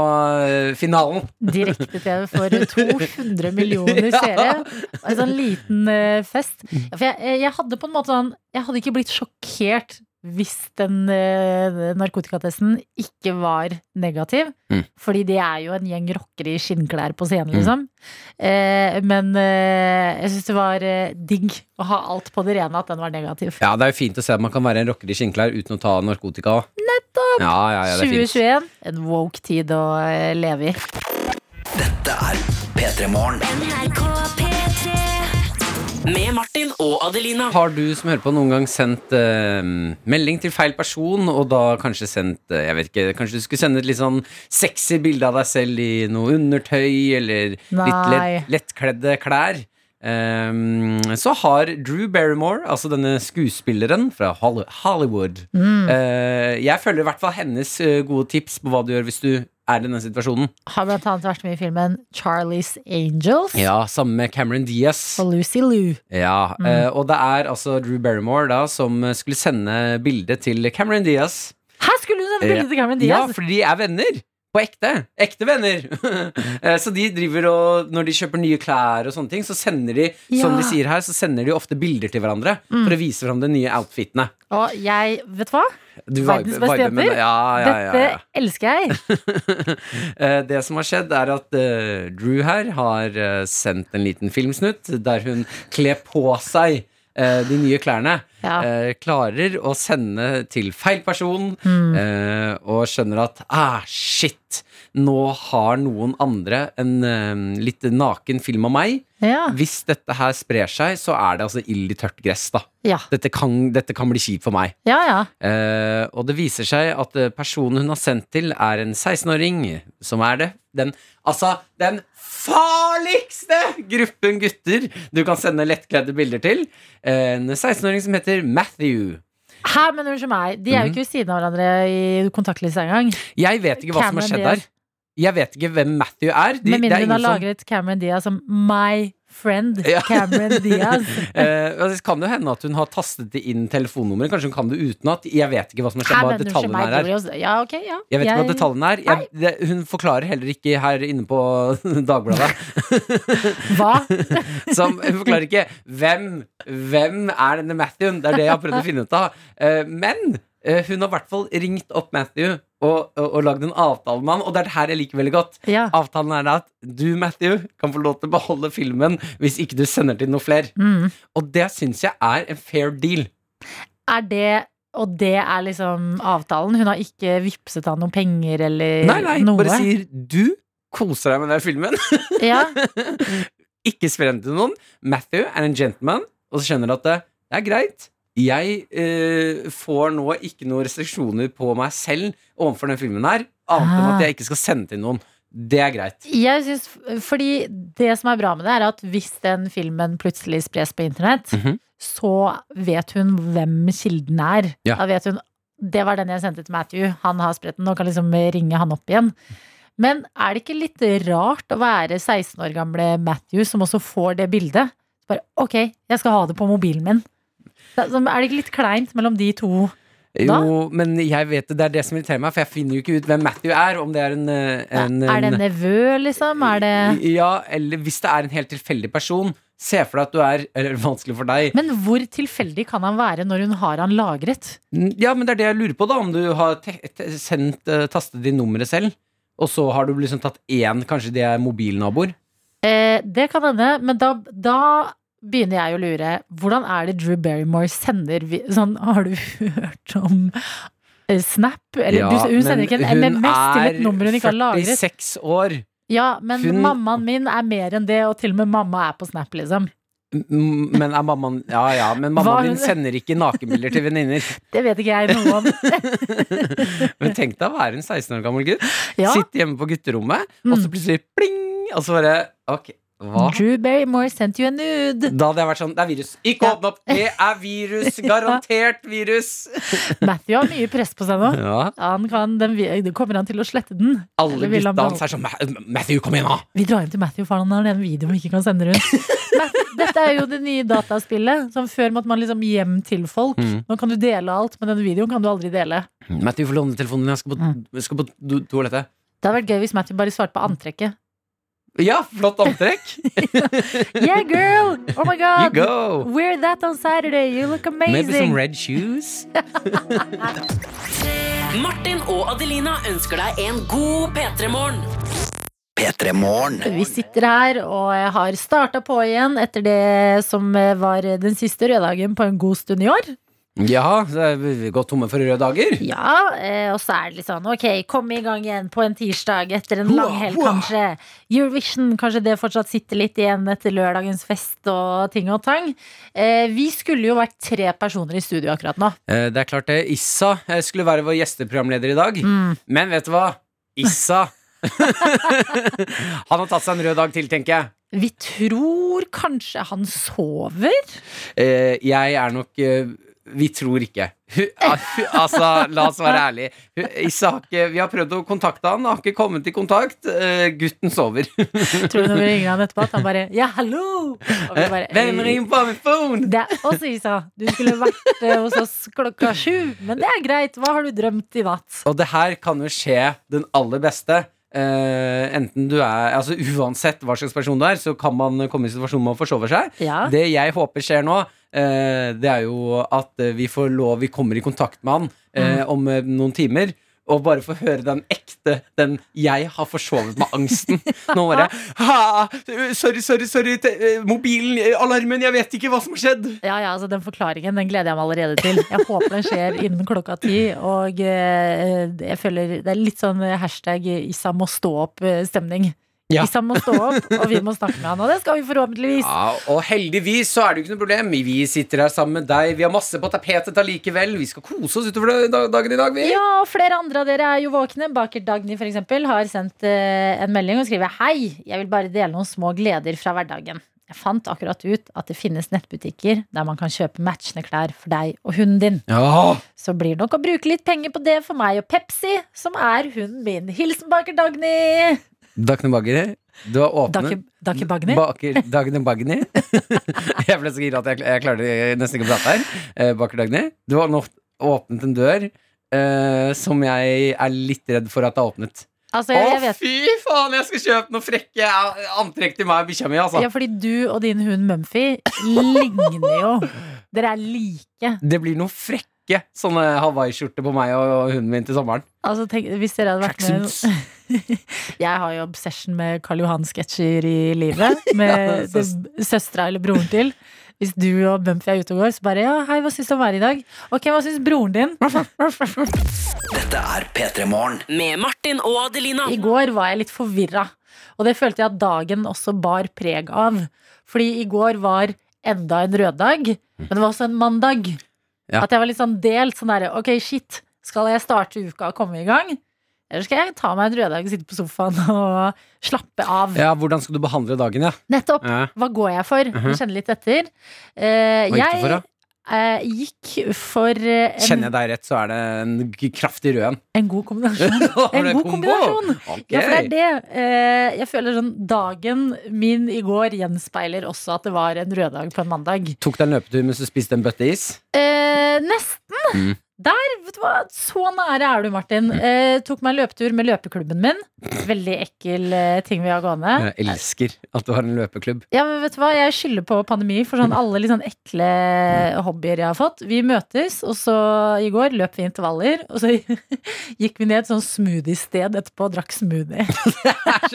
[SPEAKER 3] eh, finalen.
[SPEAKER 2] Direkte-TV for 200 millioner
[SPEAKER 3] Ja.
[SPEAKER 2] seere. En sånn liten eh, fest. Ja, For jeg, eh, jeg hadde på en måte sånn Jeg hadde ikke blitt sjokkert hvis den eh, narkotikatesten ikke var negativ.
[SPEAKER 3] Mm.
[SPEAKER 2] Fordi det er jo en gjeng rockere i skinnklær på scenen, liksom. Eh, men eh, jeg syns det var eh, digg å ha alt på det rene at den var negativ.
[SPEAKER 3] Ja, det er jo fint å se at man kan være en rocker i skinnklær uten å ta narkotika. Nettopp! Ja, ja, ja, det er fint.
[SPEAKER 2] 2021, en woke tid å eh, leve i.
[SPEAKER 4] Dette er P3-morgen. Med Martin og Adelina.
[SPEAKER 3] Har du som hører på noen gang sendt eh, melding til feil person, og da kanskje sendt eh, Jeg vet ikke, kanskje du skulle sende et litt sånn sexy bilde av deg selv i noe undertøy, eller litt
[SPEAKER 2] Nei.
[SPEAKER 3] lett, lettkledde klær? Eh, så har Drew Barrymore, altså denne skuespilleren fra Holly- Hollywood eh, Jeg følger i hvert fall hennes eh, gode tips på hva du gjør hvis du er i denne situasjonen.
[SPEAKER 2] Har blant annet vært med i filmen Charlie's Angels.
[SPEAKER 3] Ja, Sammen med Cameron Diaz.
[SPEAKER 2] Og Lucy Lou.
[SPEAKER 3] Ja,
[SPEAKER 2] Mm.
[SPEAKER 3] eh, og det er altså Drew Barrymore da som eh, skulle sende bilde til Cameron Diaz.
[SPEAKER 2] Her skulle hun sende bilde til Cameron Diaz!
[SPEAKER 3] Ja, fordi de er venner! På på ekte. Ekte venner. Eh, så de driver og Når de kjøper nye klær og sånne ting, så sender de som
[SPEAKER 2] Ja. Mm.
[SPEAKER 3] de sier her, så sender de ofte bilder til hverandre for å vise fram de nye outfitene.
[SPEAKER 2] Og jeg, vet du hva?
[SPEAKER 3] Du
[SPEAKER 2] Verdens
[SPEAKER 3] vibe-
[SPEAKER 2] beste
[SPEAKER 3] viber med
[SPEAKER 2] jenter.
[SPEAKER 3] det. Ja, ja, ja,
[SPEAKER 2] Dette
[SPEAKER 3] ja.
[SPEAKER 2] elsker jeg.
[SPEAKER 3] Eh, Det som har skjedd er at eh, Drew her har eh, sendt en liten filmsnutt der hun kler på seg eh, de nye klærne.
[SPEAKER 2] Ja.
[SPEAKER 3] Eh, klarer å sende til feil person
[SPEAKER 2] Mm.
[SPEAKER 3] eh, og skjønner at ah, shit, nå har noen andre en eh, litt naken film av meg.
[SPEAKER 2] Ja.
[SPEAKER 3] Hvis dette her sprer seg, så er det altså ild i tørt gress, da.
[SPEAKER 2] Ja,
[SPEAKER 3] Dette kan, dette kan bli kjipt for meg.
[SPEAKER 2] ja. ja.
[SPEAKER 3] Eh, og det viser seg at eh, personen hun har sendt til, er en 16-åring som er det. Den, altså, den farligste gruppen gutter du kan sende lettkledde bilder til. Eh, En 16-åring som heter Matthew.
[SPEAKER 2] Hæ, men unnskyld meg. De er
[SPEAKER 3] Mhm.
[SPEAKER 2] jo ikke ved siden av hverandre i kontaktlista engang.
[SPEAKER 3] Jeg vet ikke hva som har
[SPEAKER 2] Cameron
[SPEAKER 3] skjedd
[SPEAKER 2] Diaz.
[SPEAKER 3] der. Jeg vet ikke hvem Matthew er. De-
[SPEAKER 2] Med
[SPEAKER 3] det er
[SPEAKER 2] mindre hun har
[SPEAKER 3] ingen som-
[SPEAKER 2] lagret Cameron Diaz som my friend
[SPEAKER 3] Ja.
[SPEAKER 2] Cameron Diaz.
[SPEAKER 3] Eh, og det kan jo hende at hun har tastet det inn telefonnummeret. Kanskje hun kan det utenat. Jeg vet ikke hva som
[SPEAKER 2] Hæ,
[SPEAKER 3] har skjedd. Hva
[SPEAKER 2] men unnskyld
[SPEAKER 3] detaljene
[SPEAKER 2] meg.
[SPEAKER 3] er her.
[SPEAKER 2] det blir jo- Ja, ok, ja.
[SPEAKER 3] Jeg vet ikke hva detaljene er. Jeg, det, hun forklarer heller ikke her inne på Dagbladet.
[SPEAKER 2] Hva?
[SPEAKER 3] Som hun forklarer ikke hvem, hvem er denne Matthewen. Det er det jeg har prøvd å finne ut av. Eh, Men eh, hun har i hvert fall ringt opp Matthew og, og, og lagd en avtale med han, og det er det her jeg liker veldig godt.
[SPEAKER 2] Ja.
[SPEAKER 3] Avtalen er at du, Matthew, kan få lov til å beholde filmen hvis ikke du sender til noe fler.
[SPEAKER 2] Mm.
[SPEAKER 3] Og det syns jeg er en fair deal.
[SPEAKER 2] Er det Og det er liksom avtalen? Hun har ikke vippset han noen penger eller
[SPEAKER 3] Nei, nei,
[SPEAKER 2] noe?
[SPEAKER 3] bare sier du koser deg med den filmen.
[SPEAKER 2] Ja.
[SPEAKER 3] ikke spre den til noen. Matthew er en gentleman og så skjønner at det, det er greit. Jeg eh, får nå ikke noen restriksjoner på meg selv overfor den filmen her, annet enn
[SPEAKER 2] Ah.
[SPEAKER 3] at jeg ikke skal sende til noen. Det er greit.
[SPEAKER 2] Jeg synes, fordi det som er bra med det, er at hvis den filmen plutselig spres på internett,
[SPEAKER 3] Mhm.
[SPEAKER 2] så vet hun hvem kilden er.
[SPEAKER 3] Ja.
[SPEAKER 2] Da vet hun det var den jeg sendte til Matthew. Han har spredt den og kan liksom ringe han opp igjen. Men er det ikke litt rart å være 16 år gamle Matthew som også får det bildet? Bare ok, jeg skal ha det på mobilen min. Det Er som- er det ikke litt kleint mellom de to?
[SPEAKER 3] Jo, men jeg vet det, det er det som irriterer meg, for jeg finner jo ikke ut hvem Matthew er. Om det er en, eh, en,
[SPEAKER 2] er det
[SPEAKER 3] en-
[SPEAKER 2] nevø, liksom? Er det
[SPEAKER 3] Ja, eller hvis det er en helt tilfeldig person, se for deg at du er Eller vanskelig for deg.
[SPEAKER 2] Men hvor tilfeldig kan han være når hun har han lagret?
[SPEAKER 3] Ja, men det er det jeg lurer på, da. Om du har te te sendt, eh, tastet inn nummeret selv, og så har du liksom tatt én, kanskje de er mobilnaboer.
[SPEAKER 2] Eh, det kan hende, men da, da begynner jeg å lure. Hvordan er det Drew Barrymore sender vi- sånn, Har du hørt om eh, Snap? Eller,
[SPEAKER 3] Ja,
[SPEAKER 2] du, hun sender
[SPEAKER 3] men
[SPEAKER 2] ikke en
[SPEAKER 3] hun
[SPEAKER 2] MMS til et
[SPEAKER 3] er
[SPEAKER 2] nummer hun ikke har lagret.
[SPEAKER 3] 46 år.
[SPEAKER 2] Ja, men
[SPEAKER 3] hun-
[SPEAKER 2] mammaen min er mer enn det, og til og med mamma er på Snap, liksom.
[SPEAKER 3] M- Men er mammaen Ja ja, men
[SPEAKER 2] Hva
[SPEAKER 3] mammaen
[SPEAKER 2] hun-
[SPEAKER 3] din sender ikke nakenbilder til venninner.
[SPEAKER 2] Det vet ikke jeg noe om.
[SPEAKER 3] Men tenk deg å være en 16 år gammel gutt.
[SPEAKER 2] Ja,
[SPEAKER 3] Sitte hjemme på gutterommet, og så
[SPEAKER 2] Mm.
[SPEAKER 3] plutselig pling! Og så bare Ok, hva?
[SPEAKER 2] Drew Barrymore sent you a nude.
[SPEAKER 3] Da hadde jeg vært sånn Det er virus. Ikke
[SPEAKER 2] Ja.
[SPEAKER 3] åpne opp! Det er virus! Garantert virus!
[SPEAKER 2] Matthew har mye press på seg nå.
[SPEAKER 3] Ja.
[SPEAKER 2] Han kan, den, vi- det kommer han til å slette den?
[SPEAKER 3] Alle
[SPEAKER 2] Eller vil han
[SPEAKER 3] gutta hans er sånn "Ma- Matthew, kom igjen, da!
[SPEAKER 2] Vi drar hjem til Matthew, for han har den videoen vi ikke kan sende rundt. Matthew, Dette er jo det nye dataspillet. Som før måtte man liksom hjem til folk.
[SPEAKER 3] Mm.
[SPEAKER 2] Nå kan du dele alt, men denne videoen kan du aldri dele.
[SPEAKER 3] Matthew, få låne telefonen din. Jeg skal på,
[SPEAKER 2] Mm.
[SPEAKER 3] jeg skal på do- toalettet.
[SPEAKER 2] Det hadde vært gøy hvis Matthew bare svarte på antrekket.
[SPEAKER 3] Ja, flott antrekk!
[SPEAKER 2] Yeah, girl! Oh my
[SPEAKER 3] You
[SPEAKER 2] god!
[SPEAKER 3] go!
[SPEAKER 2] Wear that on Saturday. You look
[SPEAKER 3] Maybe
[SPEAKER 2] amazing.
[SPEAKER 3] some red shoes.
[SPEAKER 4] Martin og Adelina ønsker deg en god P3-morgen.
[SPEAKER 2] Vi sitter her, og jeg har starta på igjen etter det som eh, var den siste røddagen på en god stund i år.
[SPEAKER 3] Ja, så er vi gått tomme for røde dager.
[SPEAKER 2] Ja, eh, og så er det litt sånn Ok, kom i gang igjen på en tirsdag etter en lang helg, kanskje. Eurovision, kanskje det fortsatt sitter litt igjen etter lørdagens fest og ting og tang. Eh, vi skulle jo vært tre personer i studio akkurat nå.
[SPEAKER 3] Eh, Det er klart det. Issa eh, skulle være vår gjesteprogramleder i dag.
[SPEAKER 2] Mm.
[SPEAKER 3] Men vet du hva? Issa Han har tatt seg en rød dag til, tenker jeg.
[SPEAKER 2] Vi tror kanskje han sover?
[SPEAKER 3] Eh, Jeg er nok eh, Vi tror ikke. Hun, al- hun- altså, la oss være ærlige. Hun- Issa har ikke Vi har prøvd å kontakte han, har ikke kommet i kontakt. Eh, gutten sover.
[SPEAKER 2] Tror du når vi ringer han etterpå at han bare Ja, hallo! Og vi bare, eh,
[SPEAKER 3] Hvem ringer på min phone?
[SPEAKER 2] Det er også Isa. Du skulle vært eh, hos oss klokka sju, men det er greit. Hva har du drømt i natt?
[SPEAKER 3] Og det her kan jo skje den aller beste. Eh, enten du er Altså Uansett hva slags person du er, så kan man komme i situasjonen med å forsove seg.
[SPEAKER 2] Ja.
[SPEAKER 3] Det jeg håper skjer nå, eh, det er jo at eh, vi får lov Vi kommer i kontakt med han eh, om eh, noen timer. Og bare få høre den ekte, den 'jeg har forsovet med angsten'. Nå bare ha, Sorry, sorry, sorry. te- eh, Mobilen, eh, alarmen, jeg vet ikke hva som har skjedd.
[SPEAKER 2] Ja, ja, altså Den forklaringen den gleder jeg meg allerede til. Jeg håper den skjer innen klokka ti. Og eh, jeg føler det er litt sånn hashtag Issa må stå opp-stemning.
[SPEAKER 3] Ja.
[SPEAKER 2] Issa må stå opp, og vi må snakke med han. Og det skal vi forhåpentligvis.
[SPEAKER 3] Ja, og heldigvis så er det jo ikke noe problem. Vi sitter her sammen med deg. Vi har masse på tapetet allikevel. Vi skal kose oss utover da- dagen i dag, vi.
[SPEAKER 2] Ja, og flere andre av dere er jo våkne. Baker Dagny for eksempel, har sendt eh, en melding og skriver Hei, jeg vil bare dele noen små gleder fra hverdagen. Jeg fant akkurat ut at det finnes nettbutikker der man kan kjøpe matchende klær for deg og hunden din.
[SPEAKER 3] Ja.
[SPEAKER 2] Så blir det nok å bruke litt penger på det for meg og Pepsi, som er hunden min. Hilsen Baker Dagny!
[SPEAKER 3] Dagny Bagger, du har åpnet
[SPEAKER 2] Dakke Bagny?
[SPEAKER 3] Baker Dagny Bagny. jeg ble så gira at jeg, jeg klarte nesten ikke å prate her. Eh, Baker Dagny, du har nå åpnet en dør eh, som jeg er litt redd for at er åpnet.
[SPEAKER 2] Altså,
[SPEAKER 3] Å,
[SPEAKER 2] jeg, jeg vet
[SPEAKER 3] fy faen! Jeg skal kjøpe noen frekke antrekk til meg og bikkja mi, altså.
[SPEAKER 2] ja, fordi du og din hund Mumphy ligner jo. Dere er like.
[SPEAKER 3] Det blir noen frekke sånne hawaiiskjorter på meg og, og hunden min til sommeren.
[SPEAKER 2] Altså, tenk, hvis dere hadde vært med Jeg har jo obsession med Karl Johan-sketsjer i livet. Med
[SPEAKER 3] Ja,
[SPEAKER 2] det- søstera eller broren til. Hvis du og Bumpy er ute og går, så bare ja, hei, hva syns du om været i dag? Ok, hva syns broren din?
[SPEAKER 4] Dette er P3 Morgen. Med Martin og Adelina.
[SPEAKER 2] I går var jeg litt forvirra, og det følte jeg at dagen også bar preg av. Fordi i går var enda en røddag, men det var også en mandag.
[SPEAKER 3] Ja.
[SPEAKER 2] At jeg var litt sånn delt sånn derre ok, shit, skal jeg starte uka og komme i gang? Eller skal jeg ta meg en røddag og sitte på sofaen og slappe av?
[SPEAKER 3] Ja, hvordan skal du behandle dagen, ja?
[SPEAKER 2] Nettopp.
[SPEAKER 3] Ja.
[SPEAKER 2] Hva går jeg for?
[SPEAKER 3] Mhm.
[SPEAKER 2] Kjenne litt etter. Eh,
[SPEAKER 3] Hva gikk du for, da?
[SPEAKER 2] eh, gikk for eh, en,
[SPEAKER 3] Kjenner jeg deg rett, så er det en g- kraftig rød en.
[SPEAKER 2] en god kombinasjon.
[SPEAKER 3] Var det
[SPEAKER 2] god
[SPEAKER 3] kombo?
[SPEAKER 2] kombinasjon.
[SPEAKER 3] Ok.
[SPEAKER 2] Ja, for det er det. Eh, jeg føler sånn Dagen min i går gjenspeiler også at det var en røddag på en mandag.
[SPEAKER 3] Tok deg en løpetur mens du spiste en bøtte is?
[SPEAKER 2] Eh, nesten!
[SPEAKER 3] Mm.
[SPEAKER 2] Der! vet du hva? Så nære er du, Martin. Eh, tok meg en løpetur med løpeklubben min. Veldig ekkel eh, ting vi har gående.
[SPEAKER 3] Jeg elsker at du har en løpeklubb.
[SPEAKER 2] Ja, men vet du hva? Jeg skylder på pandemi for sånn alle litt sånn ekle hobbyer jeg har fått. Vi møtes, og så i går løp vi intervaller, og så gikk vi ned et sånn smoothie-sted etterpå og drakk smoothie.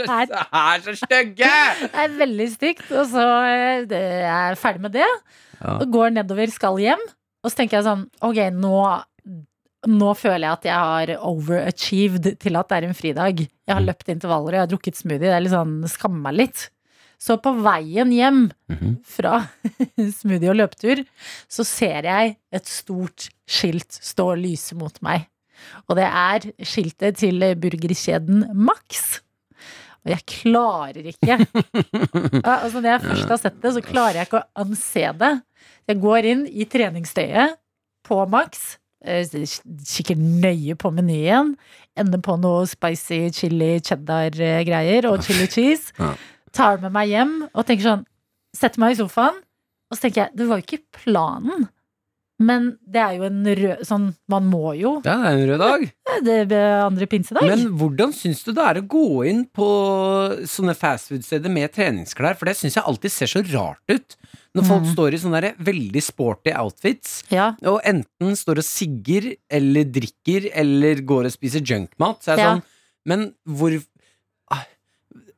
[SPEAKER 3] Det er så stygge!
[SPEAKER 2] Det er veldig stygt, og så eh, det- jeg er jeg ferdig med det.
[SPEAKER 3] Ja.
[SPEAKER 2] Og går nedover, skal hjem, og så tenker jeg sånn, ok, nå... Nå føler jeg at jeg har overachieved til at det er en fridag. Jeg har løpt intervaller og jeg har drukket smoothie. Det er litt sånn, skammer meg litt. Så på veien hjem fra smoothie og løpetur, så ser jeg et stort skilt stå og lyse mot meg. Og det er skiltet til burgerkjeden Max. Og jeg klarer ikke Ja, altså Når jeg først har sett det, så klarer jeg ikke å anse det. Jeg går inn i treningstøyet på Max, eh, kikker nøye på menyen, ender på noe spicy chili cheddar-greier og chili cheese.
[SPEAKER 3] Ja.
[SPEAKER 2] Tar med meg hjem og tenker sånn Setter meg i sofaen, og så tenker jeg Det var jo ikke planen. Men det er jo en rød Sånn, man må jo eh,
[SPEAKER 3] Ja, det er en rød dag.
[SPEAKER 2] det ble andre pinsedag.
[SPEAKER 3] Men hvordan syns du det er å gå inn på sånne fastfood-steder med treningsklær? For det syns jeg alltid ser så rart ut. Når folk
[SPEAKER 2] Mm.
[SPEAKER 3] står i sånne der veldig sporty outfits
[SPEAKER 2] ja.
[SPEAKER 3] og enten står og sigger eller drikker eller går og spiser junkmat. Så er jeg
[SPEAKER 2] Ja.
[SPEAKER 3] sånn Men hvor ah,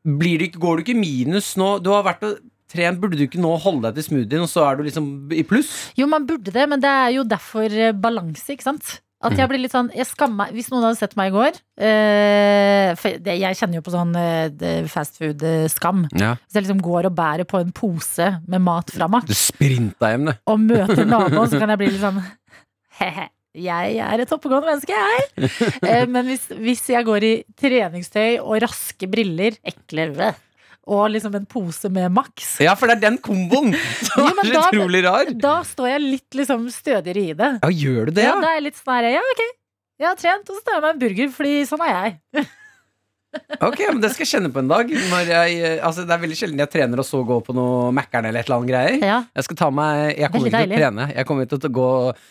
[SPEAKER 3] blir det, ikke- Går du ikke i minus nå? Du har vært og trent, burde du ikke nå holde deg til smoothien, og så er du liksom i pluss?
[SPEAKER 2] Jo, man burde det, men det er jo derfor eh, balanse, ikke sant? At jeg blir litt sånn, jeg skammer meg Hvis noen hadde sett meg i går eh, For det, jeg kjenner jo på sånn eh, fastfood-skam.
[SPEAKER 3] Ja.
[SPEAKER 2] Hvis jeg liksom går og bærer på en pose med mat fra
[SPEAKER 3] Du
[SPEAKER 2] Max
[SPEAKER 3] sprinta hjem, du.
[SPEAKER 2] og møter naboen, så kan jeg bli litt sånn he-he. Jeg er et oppegående menneske, jeg. Eh, Men hvis, hvis jeg går i treningstøy og raske briller, ekle, bleh, og liksom en pose med Max.
[SPEAKER 3] Ja, for det er den komboen som
[SPEAKER 2] Jo,
[SPEAKER 3] er
[SPEAKER 2] men
[SPEAKER 3] så
[SPEAKER 2] da-
[SPEAKER 3] utrolig rar.
[SPEAKER 2] Da står jeg litt liksom stødigere i det.
[SPEAKER 3] Ja, gjør du det,
[SPEAKER 2] Ja,
[SPEAKER 3] ja?
[SPEAKER 2] da er jeg litt sånn her Ja, ok. Jeg har trent, og så tar jeg meg en burger, fordi sånn er jeg.
[SPEAKER 3] Ok, men Det skal jeg kjenne på en dag. Når jeg, eh, altså, det er veldig sjelden jeg trener og så går på noe Mækkern eller et eller annet greier.
[SPEAKER 2] Ja.
[SPEAKER 3] Jeg skal ta meg Jeg
[SPEAKER 2] Veldig
[SPEAKER 3] kommer ikke til å
[SPEAKER 2] deilig. Mm.
[SPEAKER 3] trene. Jeg kommer til å gå,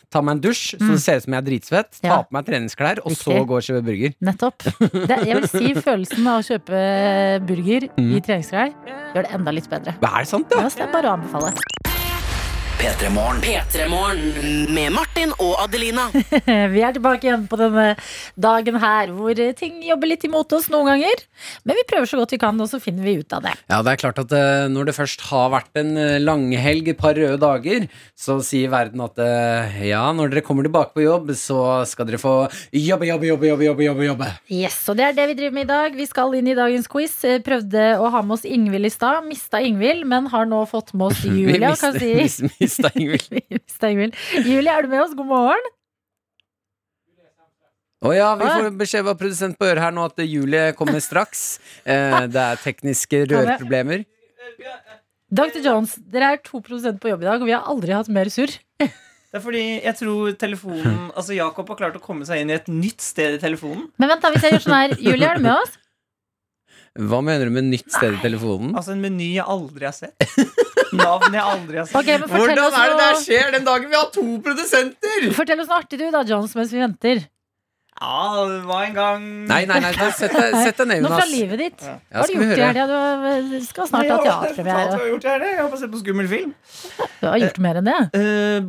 [SPEAKER 3] ta meg en dusj, så det ser ut som jeg er dritsvett. Ta
[SPEAKER 2] Ja.
[SPEAKER 3] på meg treningsklær, og så
[SPEAKER 2] Riktig.
[SPEAKER 3] gå og kjøpe burger.
[SPEAKER 2] Nettopp. Det, jeg vil si følelsen av å kjøpe burger
[SPEAKER 3] Mm.
[SPEAKER 2] i treningsklær gjør det enda litt bedre.
[SPEAKER 3] Hva er det sant, da?
[SPEAKER 2] Ja, så det er bare å anbefale.
[SPEAKER 4] P3morgen. Med Martin og Adelina.
[SPEAKER 2] Eh, Vi er tilbake igjen på denne dagen her hvor ting jobber litt imot oss noen ganger. Men vi prøver så godt vi kan, og så finner vi ut av det.
[SPEAKER 3] Ja, det er klart at eh, når det først har vært en eh, langhelg, et par røde dager, så sier verden at eh, ja, når dere kommer tilbake på jobb, så skal dere få jobbe, jobbe, jobbe, jobbe, jobbe, jobbe. jobbe.
[SPEAKER 2] Yes, og det er det vi driver med i dag. Vi skal inn i dagens quiz. Eh, Prøvde å ha med oss Ingvild i stad. Mista Ingvild, men har nå fått med oss
[SPEAKER 3] Vi
[SPEAKER 2] Julia.
[SPEAKER 3] mister-
[SPEAKER 2] Kan si.
[SPEAKER 3] mis- mista Ingvild.
[SPEAKER 2] Vi mista Ingvild. Julia, er du med oss? God morgen.
[SPEAKER 3] Å ja, vi får beskjed av produsent på øret her nå at eh, Julie kommer straks. Eh, det er tekniske rørproblemer.
[SPEAKER 2] Dr. Jones, dere er to produsenter på jobb i dag, og vi har aldri hatt mer surr.
[SPEAKER 6] Det er fordi jeg tror telefonen Altså Jakob har klart å komme seg inn i et nytt sted i telefonen.
[SPEAKER 2] Men vent, da, hvis jeg gjør sånn her. Julie, er du med oss?
[SPEAKER 3] Hva mener du med nytt sted i telefonen?
[SPEAKER 6] Altså en meny jeg aldri har sett. Navn jeg aldri har sett.
[SPEAKER 2] Ok, men fortell oss, noe,
[SPEAKER 3] skjer den dagen vi har to produsenter?!
[SPEAKER 2] fortell oss noe artig, du, da, Jones, mens vi venter.
[SPEAKER 6] Ja, det var en gang
[SPEAKER 3] Nei, nei, nei, da sett deg sett deg ned,
[SPEAKER 2] Noe fra
[SPEAKER 3] Jonas.
[SPEAKER 2] livet ditt.
[SPEAKER 6] Ja.
[SPEAKER 2] Hva har
[SPEAKER 3] skal
[SPEAKER 2] du
[SPEAKER 3] vi
[SPEAKER 2] gjort i
[SPEAKER 3] høre?
[SPEAKER 2] helga? Du har- skal snart ha
[SPEAKER 6] Nei, jeg har fortalt hva
[SPEAKER 2] teaterpremiere.
[SPEAKER 6] Jeg har gjort her, jeg har bare sett på skummel film.
[SPEAKER 2] Du har gjort mer enn det.
[SPEAKER 6] Eh,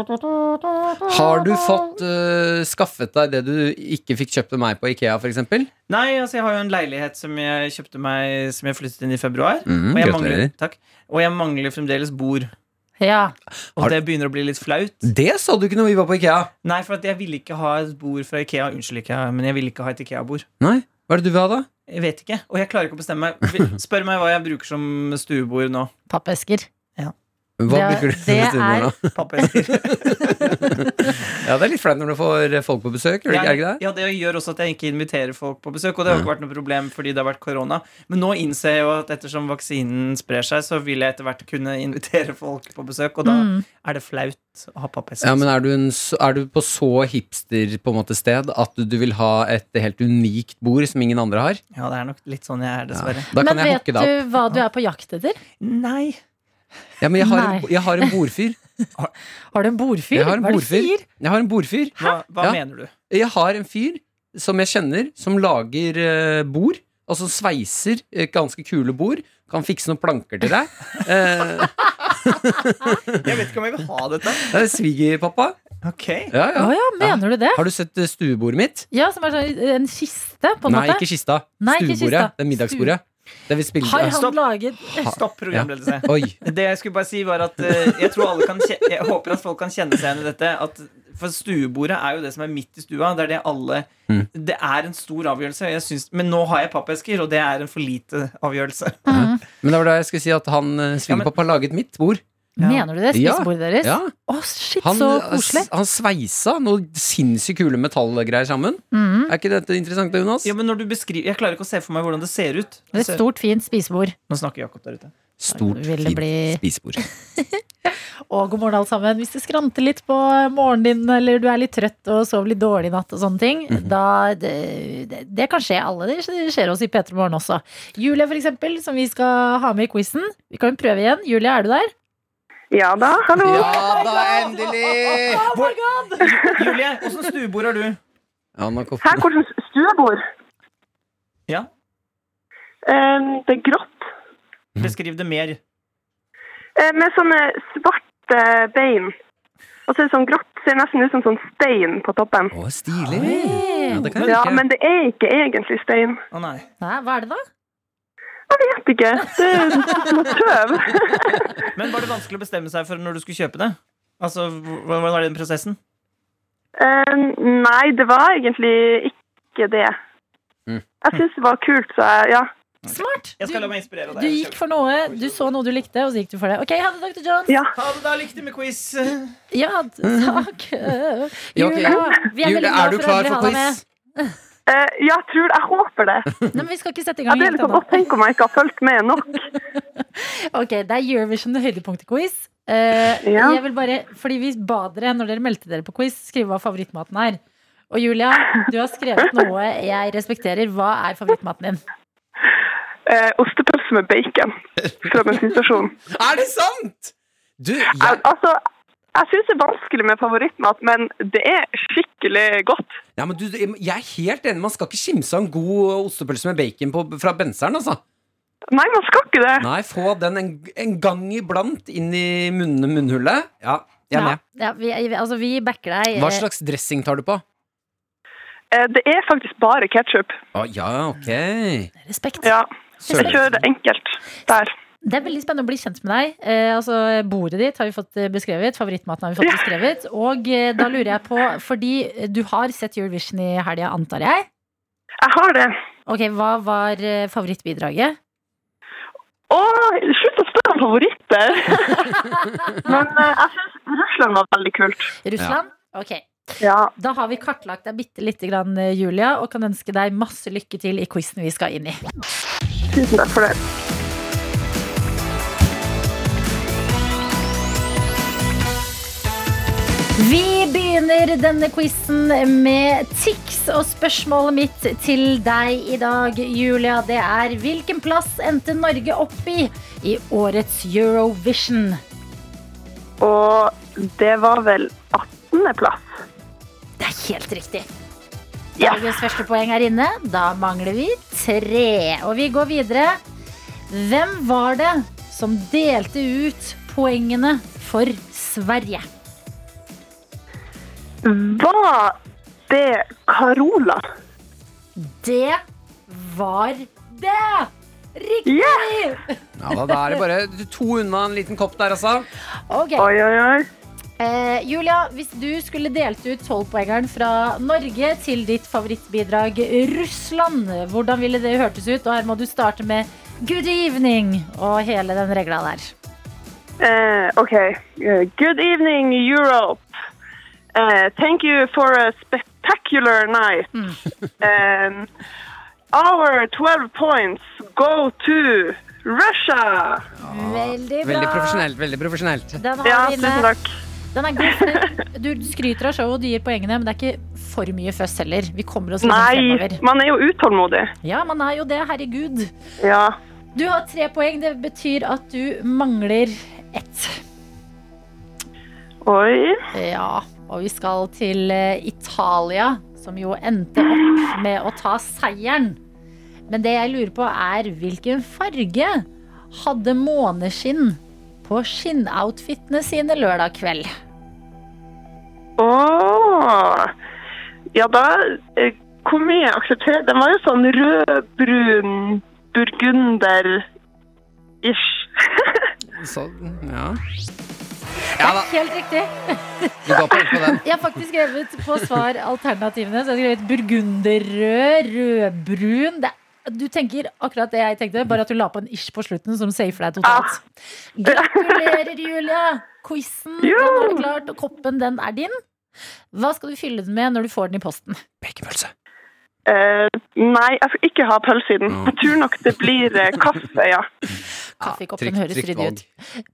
[SPEAKER 6] brr-
[SPEAKER 3] Har du fått eh, skaffet deg det du ikke fikk kjøpt av meg på Ikea, for eksempel?
[SPEAKER 6] Nei, altså jeg har jo en leilighet som jeg kjøpte meg Som jeg flyttet inn i februar.
[SPEAKER 3] Mm,
[SPEAKER 6] og, jeg mangler,
[SPEAKER 3] gratulerer.
[SPEAKER 6] takk, og jeg mangler fremdeles bord.
[SPEAKER 2] Ja.
[SPEAKER 6] Og
[SPEAKER 3] Har-
[SPEAKER 6] det begynner å bli litt flaut.
[SPEAKER 3] Det sa du ikke når vi var på Ikea.
[SPEAKER 6] Nei, for at jeg ville ikke ha et bord fra Ikea. Unnskyld, Ikea, men jeg ville ikke ha et Ikea-bord.
[SPEAKER 3] Nei, Hva er det du vil ha, da?
[SPEAKER 6] Jeg vet ikke, og jeg klarer ikke å bestemme meg. Vi- Spør meg hva jeg bruker som stuebord nå.
[SPEAKER 2] Pappesker.
[SPEAKER 3] Hva
[SPEAKER 2] Det-
[SPEAKER 3] bruker du
[SPEAKER 2] det
[SPEAKER 3] til
[SPEAKER 2] er-
[SPEAKER 3] nå?
[SPEAKER 6] Pappesker.
[SPEAKER 3] Ja, Det er litt flaut når du får eh, folk på besøk. Gjør det ikke, er det ikke det?
[SPEAKER 6] Ja, det gjør også at jeg ikke inviterer folk på besøk, og det har ikke vært noe problem fordi det har vært korona. Men nå innser jeg jo at ettersom vaksinen sprer seg, så vil jeg etter hvert kunne invitere folk på besøk, og da
[SPEAKER 2] Mm.
[SPEAKER 6] er det flaut å ha pappesker.
[SPEAKER 3] Ja, men er du, en, s- er du på så hipster på en måte sted at du vil ha et helt unikt bord som ingen andre har?
[SPEAKER 6] Ja, det er nok litt sånn jeg er, dessverre.
[SPEAKER 3] Da kan
[SPEAKER 2] Men
[SPEAKER 3] jeg
[SPEAKER 2] vet
[SPEAKER 3] hooke deg opp.
[SPEAKER 2] du hva du er på jakt etter?
[SPEAKER 6] Nei.
[SPEAKER 3] Ja, men jeg har, en,
[SPEAKER 2] Nei.
[SPEAKER 3] jeg har en bordfyr.
[SPEAKER 2] Har du en bordfyr?
[SPEAKER 3] Jeg har en
[SPEAKER 2] Hva er det du
[SPEAKER 3] bordfyr.
[SPEAKER 2] sier?
[SPEAKER 3] Jeg har en bordfyr.
[SPEAKER 6] Hva, hva
[SPEAKER 3] Ja.
[SPEAKER 6] mener du?
[SPEAKER 3] Jeg har en fyr som jeg kjenner, som lager eh, bord. Altså sveiser eh, ganske kule bord. Kan fikse noen planker til deg. Eh,
[SPEAKER 6] Jeg vet ikke om jeg vil ha dette.
[SPEAKER 3] det er Svigerpappa.
[SPEAKER 6] Ok.
[SPEAKER 3] Ja,
[SPEAKER 2] Å
[SPEAKER 3] ja.
[SPEAKER 2] ja, mener du det?
[SPEAKER 3] Har du sett eh, stuebordet mitt?
[SPEAKER 2] Ja, som er sånn en kiste, på en
[SPEAKER 3] Nei,
[SPEAKER 2] måte.
[SPEAKER 3] ikke kista.
[SPEAKER 2] Nei, ikke
[SPEAKER 3] Stuebordet.
[SPEAKER 2] kista.
[SPEAKER 3] Det er middagsbordet. Det vi spilte
[SPEAKER 2] Har han
[SPEAKER 6] Stopp.
[SPEAKER 2] laget
[SPEAKER 6] Stopp programledelse.
[SPEAKER 3] Oi.
[SPEAKER 6] Det jeg skulle bare si var at eh, jeg, tror alle kan kje- jeg håper at folk kan kjenne seg igjen i dette. At for stuebordet er jo det som er midt i stua. Det er det alle
[SPEAKER 3] Mm.
[SPEAKER 6] Det er en stor avgjørelse. Jeg syns, men nå har jeg pappesker, og det er en for lite avgjørelse.
[SPEAKER 3] Men det var da jeg skulle si at han eh, svigerpappa laget mitt bord.
[SPEAKER 6] Ja.
[SPEAKER 2] Mener du det?
[SPEAKER 3] Ja.
[SPEAKER 2] Spisebordet deres? Å,
[SPEAKER 3] Ja,
[SPEAKER 2] shit,
[SPEAKER 3] han, eh,
[SPEAKER 2] så koselig.
[SPEAKER 3] han sveisa noe sinnssykt kule metallgreier sammen.
[SPEAKER 2] Mhm.
[SPEAKER 3] Er ikke dette interessant, Jonas?
[SPEAKER 6] Ja, men når du beskriver Jeg klarer ikke å se for meg hvordan det ser ut.
[SPEAKER 2] Det er Et stort, fint spisebord.
[SPEAKER 6] Nå snakker Jakob der ute.
[SPEAKER 3] Stort,
[SPEAKER 2] Vil det
[SPEAKER 3] fint
[SPEAKER 2] bli-
[SPEAKER 3] spisebord.
[SPEAKER 2] Og god morgen, alle sammen. Hvis det skranter litt på morgenen din, eller du er litt trøtt og sover litt dårlig i natt og sånne ting,
[SPEAKER 6] Mhm.
[SPEAKER 2] da det, det, det kan skje alle. Det skjer- det skjer oss i P3 Morgen også. Julie, for eksempel, som vi skal ha med i quizen. Vi kan jo prøve igjen. Julie, er du der?
[SPEAKER 7] Ja da, hallo.
[SPEAKER 3] Ja da, endelig!
[SPEAKER 6] Julie, åssen stuebord har du?
[SPEAKER 3] Ja, nå kom-
[SPEAKER 7] Her hvordan stuebord.
[SPEAKER 6] Ja,
[SPEAKER 7] Eh, Det er grått.
[SPEAKER 6] Mm. Beskriv det mer.
[SPEAKER 7] eh, Med sånne svarte bein. Og så er det sånn grått. Ser nesten ut som sånn stein på toppen.
[SPEAKER 3] Å, stilig! Ja, det kan jeg
[SPEAKER 7] Ja,
[SPEAKER 3] like.
[SPEAKER 7] men det er ikke egentlig stein.
[SPEAKER 6] Å nei.
[SPEAKER 2] Nei, hva er det da?
[SPEAKER 7] Jeg vet ikke. Det er noe tøv.
[SPEAKER 6] Men var det vanskelig å bestemme seg for når du skulle kjøpe det? Altså, Hvordan var den prosessen?
[SPEAKER 7] Eh, Nei, det var egentlig ikke det.
[SPEAKER 3] Mm.
[SPEAKER 7] Jeg syns det var kult, så jeg, ja.
[SPEAKER 2] Smart!
[SPEAKER 6] Jeg skal la
[SPEAKER 2] Du,
[SPEAKER 6] meg inspirere av
[SPEAKER 2] du
[SPEAKER 6] deg.
[SPEAKER 2] gikk for noe, du så noe du likte, og så gikk du for det. Ok, ha det, Dr. Jones.
[SPEAKER 7] Ja.
[SPEAKER 6] Ha det, da. Lykke til med quiz.
[SPEAKER 2] Ja, takk.
[SPEAKER 3] Ja, ok.
[SPEAKER 6] Mhm.
[SPEAKER 2] Julia, vi er
[SPEAKER 3] Julie,
[SPEAKER 2] veldig
[SPEAKER 3] er
[SPEAKER 2] glad
[SPEAKER 3] du
[SPEAKER 2] for å
[SPEAKER 3] klar
[SPEAKER 2] endelig
[SPEAKER 3] for
[SPEAKER 2] ha deg med.
[SPEAKER 3] quiz?
[SPEAKER 7] Eh, ja, jeg tror Jeg håper det.
[SPEAKER 2] Nei, men vi skal ikke sette i
[SPEAKER 7] Jeg
[SPEAKER 2] gang
[SPEAKER 7] ble
[SPEAKER 2] helt
[SPEAKER 6] liksom
[SPEAKER 2] ennå.
[SPEAKER 7] litt sånn, «Å, Tenk om jeg ikke har fulgt med nok.
[SPEAKER 2] Ok, det er Eurovision høydepunkt-quiz. Eh,
[SPEAKER 7] Ja.
[SPEAKER 2] Jeg vil bare, fordi vi ba dere når dere meldte dere på quiz, skrive hva favorittmaten er. Og Julia, du har skrevet noe jeg respekterer. Hva er favorittmaten din?
[SPEAKER 7] Eh, ostepølse med bacon fra bensinstasjonen.
[SPEAKER 3] Er det sant?! Du,
[SPEAKER 7] Jeg,
[SPEAKER 3] jeg,
[SPEAKER 7] altså, jeg syns det er vanskelig med favorittmat, men det er skikkelig godt.
[SPEAKER 3] ja, men du, jeg er helt enig. Man skal ikke skimse av en god ostepølse med bacon på, fra benseren, altså.
[SPEAKER 7] Nei, man skal ikke det.
[SPEAKER 3] Nei, få den en, en gang iblant inn i munn, munnhullet. Ja, jeg er
[SPEAKER 2] Ja,
[SPEAKER 3] med.
[SPEAKER 2] ja, vi, altså, vi backer deg.
[SPEAKER 3] Hva slags dressing tar du på?
[SPEAKER 7] Eh, Det er faktisk bare ketsjup.
[SPEAKER 3] Å, ja, ok.
[SPEAKER 2] Eh, Respekt.
[SPEAKER 7] Ja, jeg
[SPEAKER 3] Søren.
[SPEAKER 7] kjører det enkelt der.
[SPEAKER 2] Det er veldig spennende å bli kjent med deg. Eh, altså, Bordet ditt har vi fått eh, beskrevet. Favorittmaten har vi fått
[SPEAKER 7] Ja.
[SPEAKER 2] beskrevet. Og eh, da lurer jeg på, fordi eh, du har sett Eurovision i helga, antar jeg.
[SPEAKER 7] Jeg har det.
[SPEAKER 2] Ok, Hva var eh, favorittbidraget?
[SPEAKER 7] Å, slutt å spørre om favoritter! men eh, jeg syns Russland var veldig kult.
[SPEAKER 2] Russland? Ok.
[SPEAKER 7] Ja.
[SPEAKER 2] Da har vi kartlagt deg bitte lite grann, eh, Julia, og kan ønske deg masse lykke til i quizen vi skal inn i.
[SPEAKER 7] Tusen takk for det.
[SPEAKER 2] Vi begynner denne quizen med Tix, og spørsmålet mitt til deg i dag, Julia, det er hvilken plass endte Norge opp i i årets Eurovision?
[SPEAKER 7] Og det var vel 18.-plass.
[SPEAKER 2] Det er helt riktig.
[SPEAKER 7] Ja.
[SPEAKER 2] Dagens første poeng er inne. Da mangler vi tre. Og vi går videre. Hvem var det som delte ut poengene for Sverige?
[SPEAKER 7] Var det Carola?
[SPEAKER 2] Det var det! Riktig!
[SPEAKER 7] Ja!
[SPEAKER 3] Ja, da, da er det bare to unna en liten kopp der, altså.
[SPEAKER 2] Ok.
[SPEAKER 7] Oi, oi, oi.
[SPEAKER 2] Eh, Julia, hvis du skulle delt ut tolvpoengeren fra Norge til ditt favorittbidrag Russland, hvordan ville det hørtes ut? Og her må du starte med 'good evening' og hele den regla der.
[SPEAKER 7] Uh, okay. Uh, good evening, Europe. Uh, thank you for a spectacular night. um, our 12 points go to Russia.
[SPEAKER 2] Veldig bra.
[SPEAKER 3] Veldig profesjonelt. veldig profesjonelt
[SPEAKER 2] Den har
[SPEAKER 7] Ja,
[SPEAKER 2] vi
[SPEAKER 7] tusen
[SPEAKER 2] inne.
[SPEAKER 7] takk.
[SPEAKER 2] Den er god. for Du du skryter av showet og du gir poengene, men det er ikke for mye føss heller. Vi kommer oss liksom
[SPEAKER 7] Nei,
[SPEAKER 2] fremover.
[SPEAKER 7] man er jo utålmodig.
[SPEAKER 2] Ja, man er jo det. Herregud.
[SPEAKER 7] Ja.
[SPEAKER 2] Du har tre poeng. Det betyr at du mangler ett.
[SPEAKER 7] Oi.
[SPEAKER 2] Ja, og vi skal til eh, Italia, som jo endte opp med å ta seieren. Men det jeg lurer på, er hvilken farge hadde måneskinn på skinnoutfitene sine lørdag kveld?
[SPEAKER 7] Åh. Ja, da eh, Hvor mye aksepterer Den var jo sånn rød-brun burgunder-ish.
[SPEAKER 3] Så, ja. ja da,
[SPEAKER 2] Helt riktig.
[SPEAKER 3] vi går på, på den.
[SPEAKER 2] Jeg har faktisk skrevet på svar alternativene. Så jeg har skrevet burgunderrød, rødbrun. Det, du tenker akkurat det jeg tenkte, bare at du la på en ish på slutten som safer deg totalt. Gratulerer, Julia! Quizen den har du klart, og koppen den er din. Hva skal du fylle den med når du får den i posten?
[SPEAKER 3] Baconpølse.
[SPEAKER 7] Eh, nei, jeg skal ikke ha pølse i den.
[SPEAKER 3] Ja.
[SPEAKER 7] Jeg tror nok det blir eh, kaffe, ja.
[SPEAKER 2] Kaffekoppen
[SPEAKER 3] trygt-
[SPEAKER 2] høres
[SPEAKER 3] trygt
[SPEAKER 2] ryddig ut.
[SPEAKER 3] valg.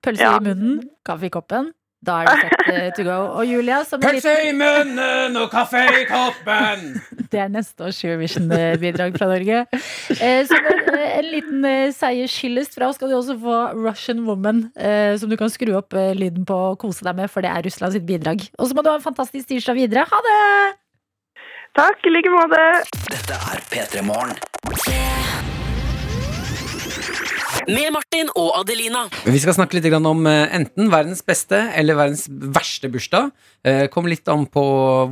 [SPEAKER 2] Pølse
[SPEAKER 7] Ja.
[SPEAKER 2] i munnen, kaffe i koppen. Da er det set eh, to go. Og Julia, som er
[SPEAKER 3] Pølse i munnen og kaffe i koppen!
[SPEAKER 2] Det er neste års Eurovision-bidrag fra Norge. Eh, Så en, en liten eh, seiershyllest fra oss skal du også få Russian Woman, eh, som du kan skru opp eh, lyden på og kose deg med, for det er Russland sitt bidrag. Og så må du ha en fantastisk tirsdag videre. Ha det!
[SPEAKER 7] Takk, i like måte.
[SPEAKER 4] Dette er P3 Morgen. Med Martin og Adelina.
[SPEAKER 3] Vi skal snakke litt grann om eh, enten verdens beste eller verdens verste bursdag. Eh, Kommer litt an på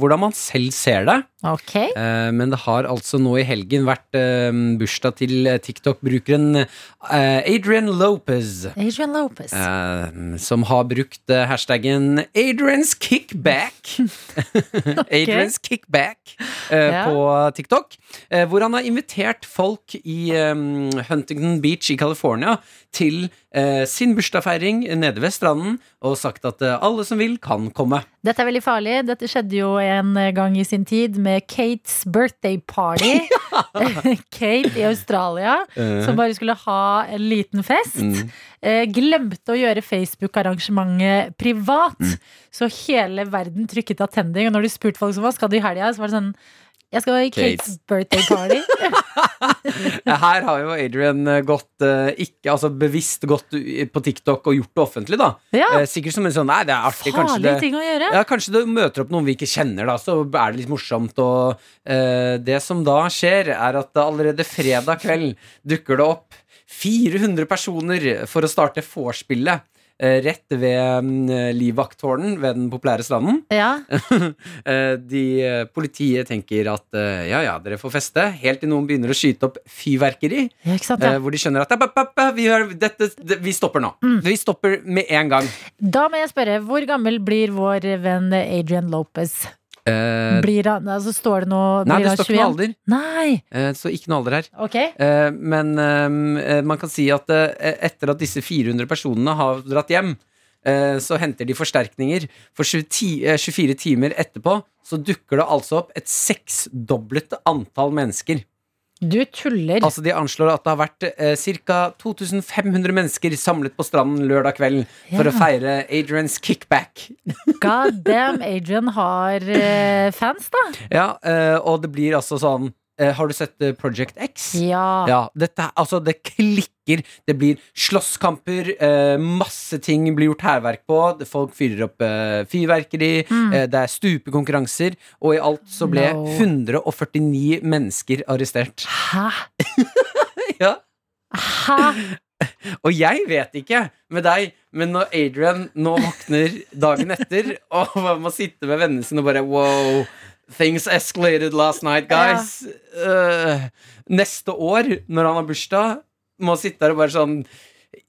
[SPEAKER 3] hvordan man selv ser det.
[SPEAKER 2] Ok.
[SPEAKER 3] Eh, Men det har altså nå i helgen vært eh, bursdag til eh, TikTok-brukeren eh, Adrian Lopez.
[SPEAKER 2] Adrian Lopez.
[SPEAKER 3] eh, Som har brukt eh, hashtaggen Adrians kickback. Adrians kickback eh,
[SPEAKER 2] Ja.
[SPEAKER 3] på TikTok. eh, Hvor han har invitert folk i eh, Huntington Beach i California til eh, eh, sin bursdagsfeiring nede ved stranden og sagt at eh, alle som vil, kan komme.
[SPEAKER 2] Dette er veldig farlig. Dette skjedde jo en gang i sin tid med Kates birthday party. Kate i Australia, som bare skulle ha en liten fest.
[SPEAKER 3] Eh. Mm.
[SPEAKER 2] Eh, glemte å gjøre Facebook-arrangementet privat.
[SPEAKER 3] Mm.
[SPEAKER 2] Så hele verden trykket attending. Og når de spurte folk som hva skal du i helga, så var det sånn Jeg skal i Kates
[SPEAKER 3] Kates.
[SPEAKER 2] birthday party.
[SPEAKER 3] Eh, Her har jo Adrian eh, gått eh, ikke, altså bevisst gått u- på TikTok og gjort det offentlig, da.
[SPEAKER 2] ja,
[SPEAKER 3] Eh, Sikkert som en sånn Nei, det er artig, kanskje
[SPEAKER 2] farlige
[SPEAKER 3] det
[SPEAKER 2] ting å gjøre.
[SPEAKER 3] Ja, Kanskje du møter opp noen vi ikke kjenner, da, så er det litt morsomt. Og eh, det som da skjer, er at allerede fredag kveld dukker det opp 400 personer for å starte vorspielet. eh, Rett ved mm, livvakttårnen ved den populære stranden.
[SPEAKER 2] Ja.
[SPEAKER 3] Eh, de, eh, politiet tenker at eh, ja, ja, dere får feste, helt til noen begynner å skyte opp fyrverkeri.
[SPEAKER 2] ja, ikke sant?
[SPEAKER 3] Eh,
[SPEAKER 2] Ja.
[SPEAKER 3] hvor de skjønner at «App, app, app, vi, gjør dette, det, vi stopper nå.
[SPEAKER 2] Mm.
[SPEAKER 3] Vi stopper med en gang.
[SPEAKER 2] Da må jeg spørre, hvor gammel blir vår venn Adrian Lopez?
[SPEAKER 3] Eh,
[SPEAKER 2] Blir han, altså står det noe
[SPEAKER 3] nei,
[SPEAKER 2] blir
[SPEAKER 3] det
[SPEAKER 2] han
[SPEAKER 3] står ikke noe
[SPEAKER 2] 21?
[SPEAKER 3] alder.
[SPEAKER 2] Nei!
[SPEAKER 3] Eh, så ikke noe alder her.
[SPEAKER 2] Ok.
[SPEAKER 3] Eh, Men ehm, eh, man kan si at eh, etter at disse 400 personene har dratt hjem, eh, så henter de forsterkninger. For 20 ti- eh, 24 timer etterpå så dukker det altså opp et seksdoblet antall mennesker.
[SPEAKER 2] Du tuller.
[SPEAKER 3] Altså De anslår at det har vært eh, ca. 2500 mennesker samlet på stranden lørdag kveld
[SPEAKER 2] Ja.
[SPEAKER 3] for å feire Adrians kickback.
[SPEAKER 2] God damn, Adrian har eh, fans, da.
[SPEAKER 3] Ja, eh, Og det blir altså sånn eh, Har du sett eh, Project X?
[SPEAKER 2] Ja.
[SPEAKER 3] Ja, dette, er- altså det klikker Det blir slåsskamper eh, Masse ting blir gjort herverk på Folk fyrer opp eh, fyrverkeri
[SPEAKER 2] Mm.
[SPEAKER 3] eh, Det er stupekonkurranser Og i alt så ble
[SPEAKER 2] No.
[SPEAKER 3] 149 mennesker arrestert
[SPEAKER 2] Hæ?
[SPEAKER 3] ja.
[SPEAKER 2] Hæ?
[SPEAKER 3] Og jeg vet ikke med deg Men når Adrian nå våkner dagen etter Og man må sitte med vennene sine og bare Wow, things escalated last night, guys Øh, Neste år, når han har bursdag Må han sitte der og bare sånn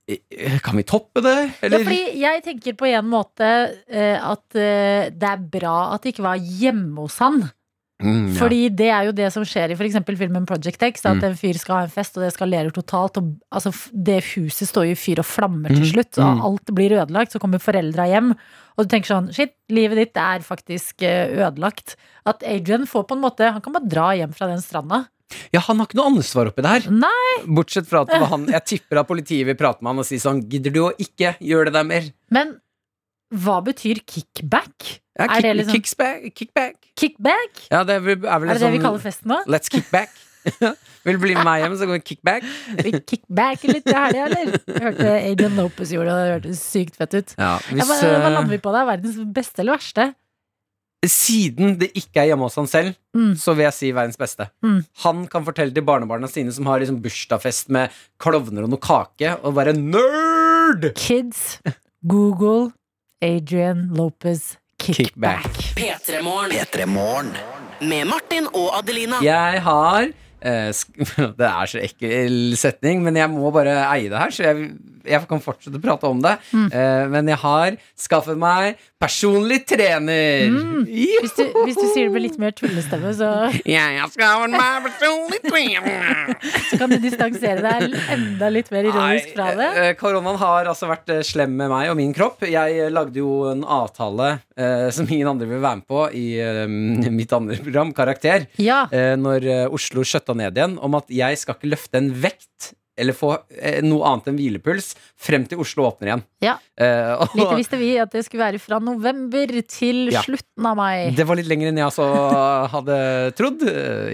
[SPEAKER 3] «Eh, Kan vi toppe det?
[SPEAKER 2] Ja,
[SPEAKER 3] Eller?
[SPEAKER 2] fordi jeg tenker på en måte eh, at eh, det er bra at det ikke var hjemme hos han.
[SPEAKER 3] Mm, ja. Mm.
[SPEAKER 2] Fordi det er jo det som skjer i for eksempel filmen Project X. At en fyr skal ha en fest, og det eskalerer totalt. Og, altså, f- det huset står jo i fyr og flammer til
[SPEAKER 3] Mhm.
[SPEAKER 2] slutt, og
[SPEAKER 3] Mm.
[SPEAKER 2] alt blir ødelagt. Så kommer foreldra hjem, og du tenker sånn Shit, livet ditt er faktisk eh, ødelagt. At Adrian får på en måte Han kan bare dra hjem fra den stranda.
[SPEAKER 3] ja, han har ikke noe ansvar oppi det her
[SPEAKER 2] Nei!
[SPEAKER 3] Bortsett fra at det var han Jeg tipper at politiet vil prate med han og si sånn Gidder du å ikke gjøre det der mer?
[SPEAKER 2] Men hva betyr kickback?
[SPEAKER 3] Ja,
[SPEAKER 2] Er det liksom-
[SPEAKER 3] kicksback- Kickback
[SPEAKER 2] Kickback?
[SPEAKER 3] Ja, det er vel, er vel
[SPEAKER 2] Er det det vi
[SPEAKER 3] sånn-
[SPEAKER 2] kaller festen nå?
[SPEAKER 3] Let's kick back. Vil du bli med meg hjem, så går vi kickback.
[SPEAKER 2] Vi kickbacker litt i helga, eller? Jeg hørte Adrian Lopez gjorde det, og det hørtes sykt fett ut.
[SPEAKER 3] Ja,
[SPEAKER 2] Ja,
[SPEAKER 3] hvis,
[SPEAKER 2] Hva, hva lander
[SPEAKER 3] eh,
[SPEAKER 2] vi på da? Verdens beste eller verste?
[SPEAKER 3] siden det ikke er hjemme hos han selv,
[SPEAKER 2] Mm.
[SPEAKER 3] så vil jeg si verdens beste.
[SPEAKER 2] Mm.
[SPEAKER 3] Han kan fortelle til barnebarna sine, som har liksom bursdagsfest med klovner og noe kake, og være nerd!
[SPEAKER 2] Kids, Google, Adrian Lopez, kickback.
[SPEAKER 4] P3morgen. Med Martin og Adelina.
[SPEAKER 3] Jeg har eh, sk- Det er så ekkel setning, men jeg må bare eie det her, så jeg, jeg kan fortsette å prate om det.
[SPEAKER 2] Mm.
[SPEAKER 3] Eh, men jeg har skaffet meg personlig trener. Jiho!
[SPEAKER 2] Mm. Hvis du, hvis du sier det med litt mer tullestemme, så,
[SPEAKER 3] Jeg har skaffet meg personlig trener.
[SPEAKER 2] så kan du distansere deg enda litt mer ironisk fra det.
[SPEAKER 3] Nei, eh, Koronaen har altså vært eh, slem med meg og min kropp. Jeg eh, lagde jo en avtale eh, som ingen andre vil være med på i eh, mitt andre program, Karakter,
[SPEAKER 2] Ja,
[SPEAKER 3] eh, når eh, Oslo skjøtta ned igjen, om at jeg skal ikke løfte en vekt eller få eh, noe annet enn hvilepuls frem til Oslo åpner igjen.
[SPEAKER 2] Ja.
[SPEAKER 3] Eh, og-
[SPEAKER 2] lite visste vi at det skulle være fra november til
[SPEAKER 3] Ja.
[SPEAKER 2] slutten av mai.
[SPEAKER 3] Det var litt lenger enn jeg altså hadde trodd.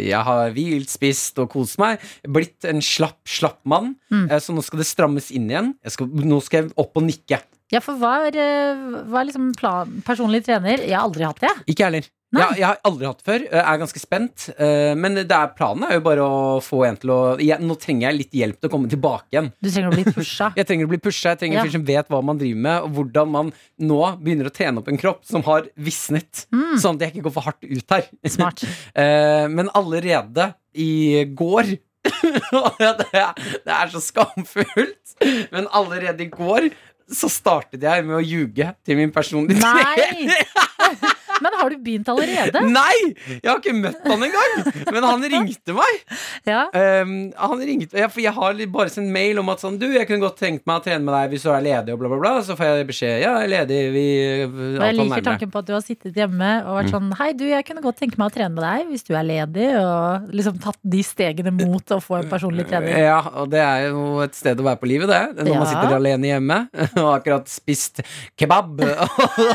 [SPEAKER 3] Jeg har hvilt, spist og kost meg. Blitt en slapp, slapp mann.
[SPEAKER 2] Mm.
[SPEAKER 3] Eh, Så nå skal det strammes inn igjen. Jeg skal, nå skal jeg opp og nikke.
[SPEAKER 2] Ja, for hva er, eh, hva er liksom plan, personlig trener? Jeg har aldri hatt det. jeg.
[SPEAKER 3] Ikke jeg heller.
[SPEAKER 2] Nei.
[SPEAKER 3] Jeg, jeg har aldri hatt det før. Jeg er ganske spent. Eh, Men det er planen er jo bare å få en til å jeg, Nå trenger jeg litt hjelp til å komme tilbake igjen.
[SPEAKER 2] Du trenger å bli pusha.
[SPEAKER 3] Jeg trenger å bli pusha. Jeg trenger
[SPEAKER 2] Ja.
[SPEAKER 3] en fyr som vet hva man driver med, og hvordan man nå begynner å trene opp en kropp som har visnet.
[SPEAKER 2] Mm.
[SPEAKER 3] Sånn at jeg ikke går for hardt ut her.
[SPEAKER 2] Smart.
[SPEAKER 3] Eh, men allerede i går og det, er, det er så skamfullt, men allerede i går så startet jeg med å ljuge til min personlige
[SPEAKER 2] Nei!
[SPEAKER 3] trener.
[SPEAKER 2] Men har du begynt allerede?
[SPEAKER 3] Nei! Jeg har ikke møtt han engang! Men han ringte meg.
[SPEAKER 2] Ja.
[SPEAKER 3] Ehm, han ringte ja, For jeg har li- bare sendt mail om at sånn Du, jeg kunne godt tenkt meg å trene med deg hvis du er ledig, og bla, bla, bla. Så får jeg beskjed. Ja, jeg er ledig. Vi
[SPEAKER 2] Og jeg liker tanken på at du har sittet hjemme og
[SPEAKER 3] Mm.
[SPEAKER 2] vært sånn Hei, du, jeg kunne godt tenke meg å trene med deg hvis du er ledig, og liksom tatt de stegene mot å få en
[SPEAKER 3] Eh,
[SPEAKER 2] personlig trener.
[SPEAKER 3] Ja, og det er jo et sted å være på livet, det. Når man
[SPEAKER 2] Ja.
[SPEAKER 3] sitter alene hjemme og har akkurat spist kebab.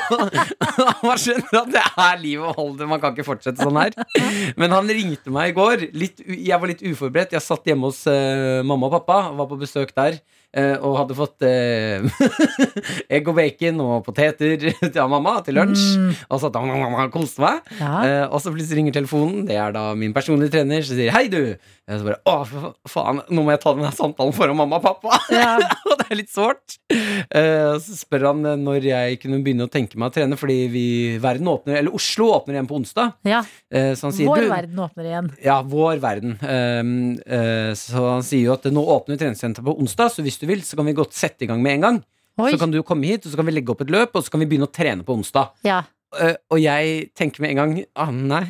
[SPEAKER 3] man skjønner at det er livet å holde det. Man kan ikke fortsette sånn her. Men han ringte meg i går. Litt, u- jeg var litt uforberedt. Jeg satt hjemme hos eh, mamma og pappa og var på besøk der. eh, og hadde fått eh, egg og bacon og poteter av mamma til lunsj. Og satt og koste meg.
[SPEAKER 2] Ja.
[SPEAKER 3] Eh, og så plutselig ringer telefonen. Det er da min personlige trener som sier 'hei, du'. Og så bare 'å, fa- faen, nå må jeg ta denne samtalen foran mamma og pappa'.
[SPEAKER 2] Ja.
[SPEAKER 3] og det er litt sårt. Eh, så spør han eh, når jeg kunne begynne å tenke meg å trene, fordi vi, verden åpner, eller Oslo åpner igjen på onsdag.
[SPEAKER 2] ja.
[SPEAKER 3] Eh, så han sier
[SPEAKER 2] Vår
[SPEAKER 3] «Du,
[SPEAKER 2] verden åpner igjen.
[SPEAKER 3] ja, vår verden. Ehm, eh, så han sier jo at nå åpner treningssenteret på onsdag, så hvis du vil, så kan vi godt sette i gang med en gang.
[SPEAKER 2] Oi.
[SPEAKER 3] Så kan du komme hit, og så kan vi legge opp et løp, og så kan vi begynne å trene på onsdag.
[SPEAKER 2] Ja.
[SPEAKER 3] Eh, og jeg tenker med en gang ah, nei,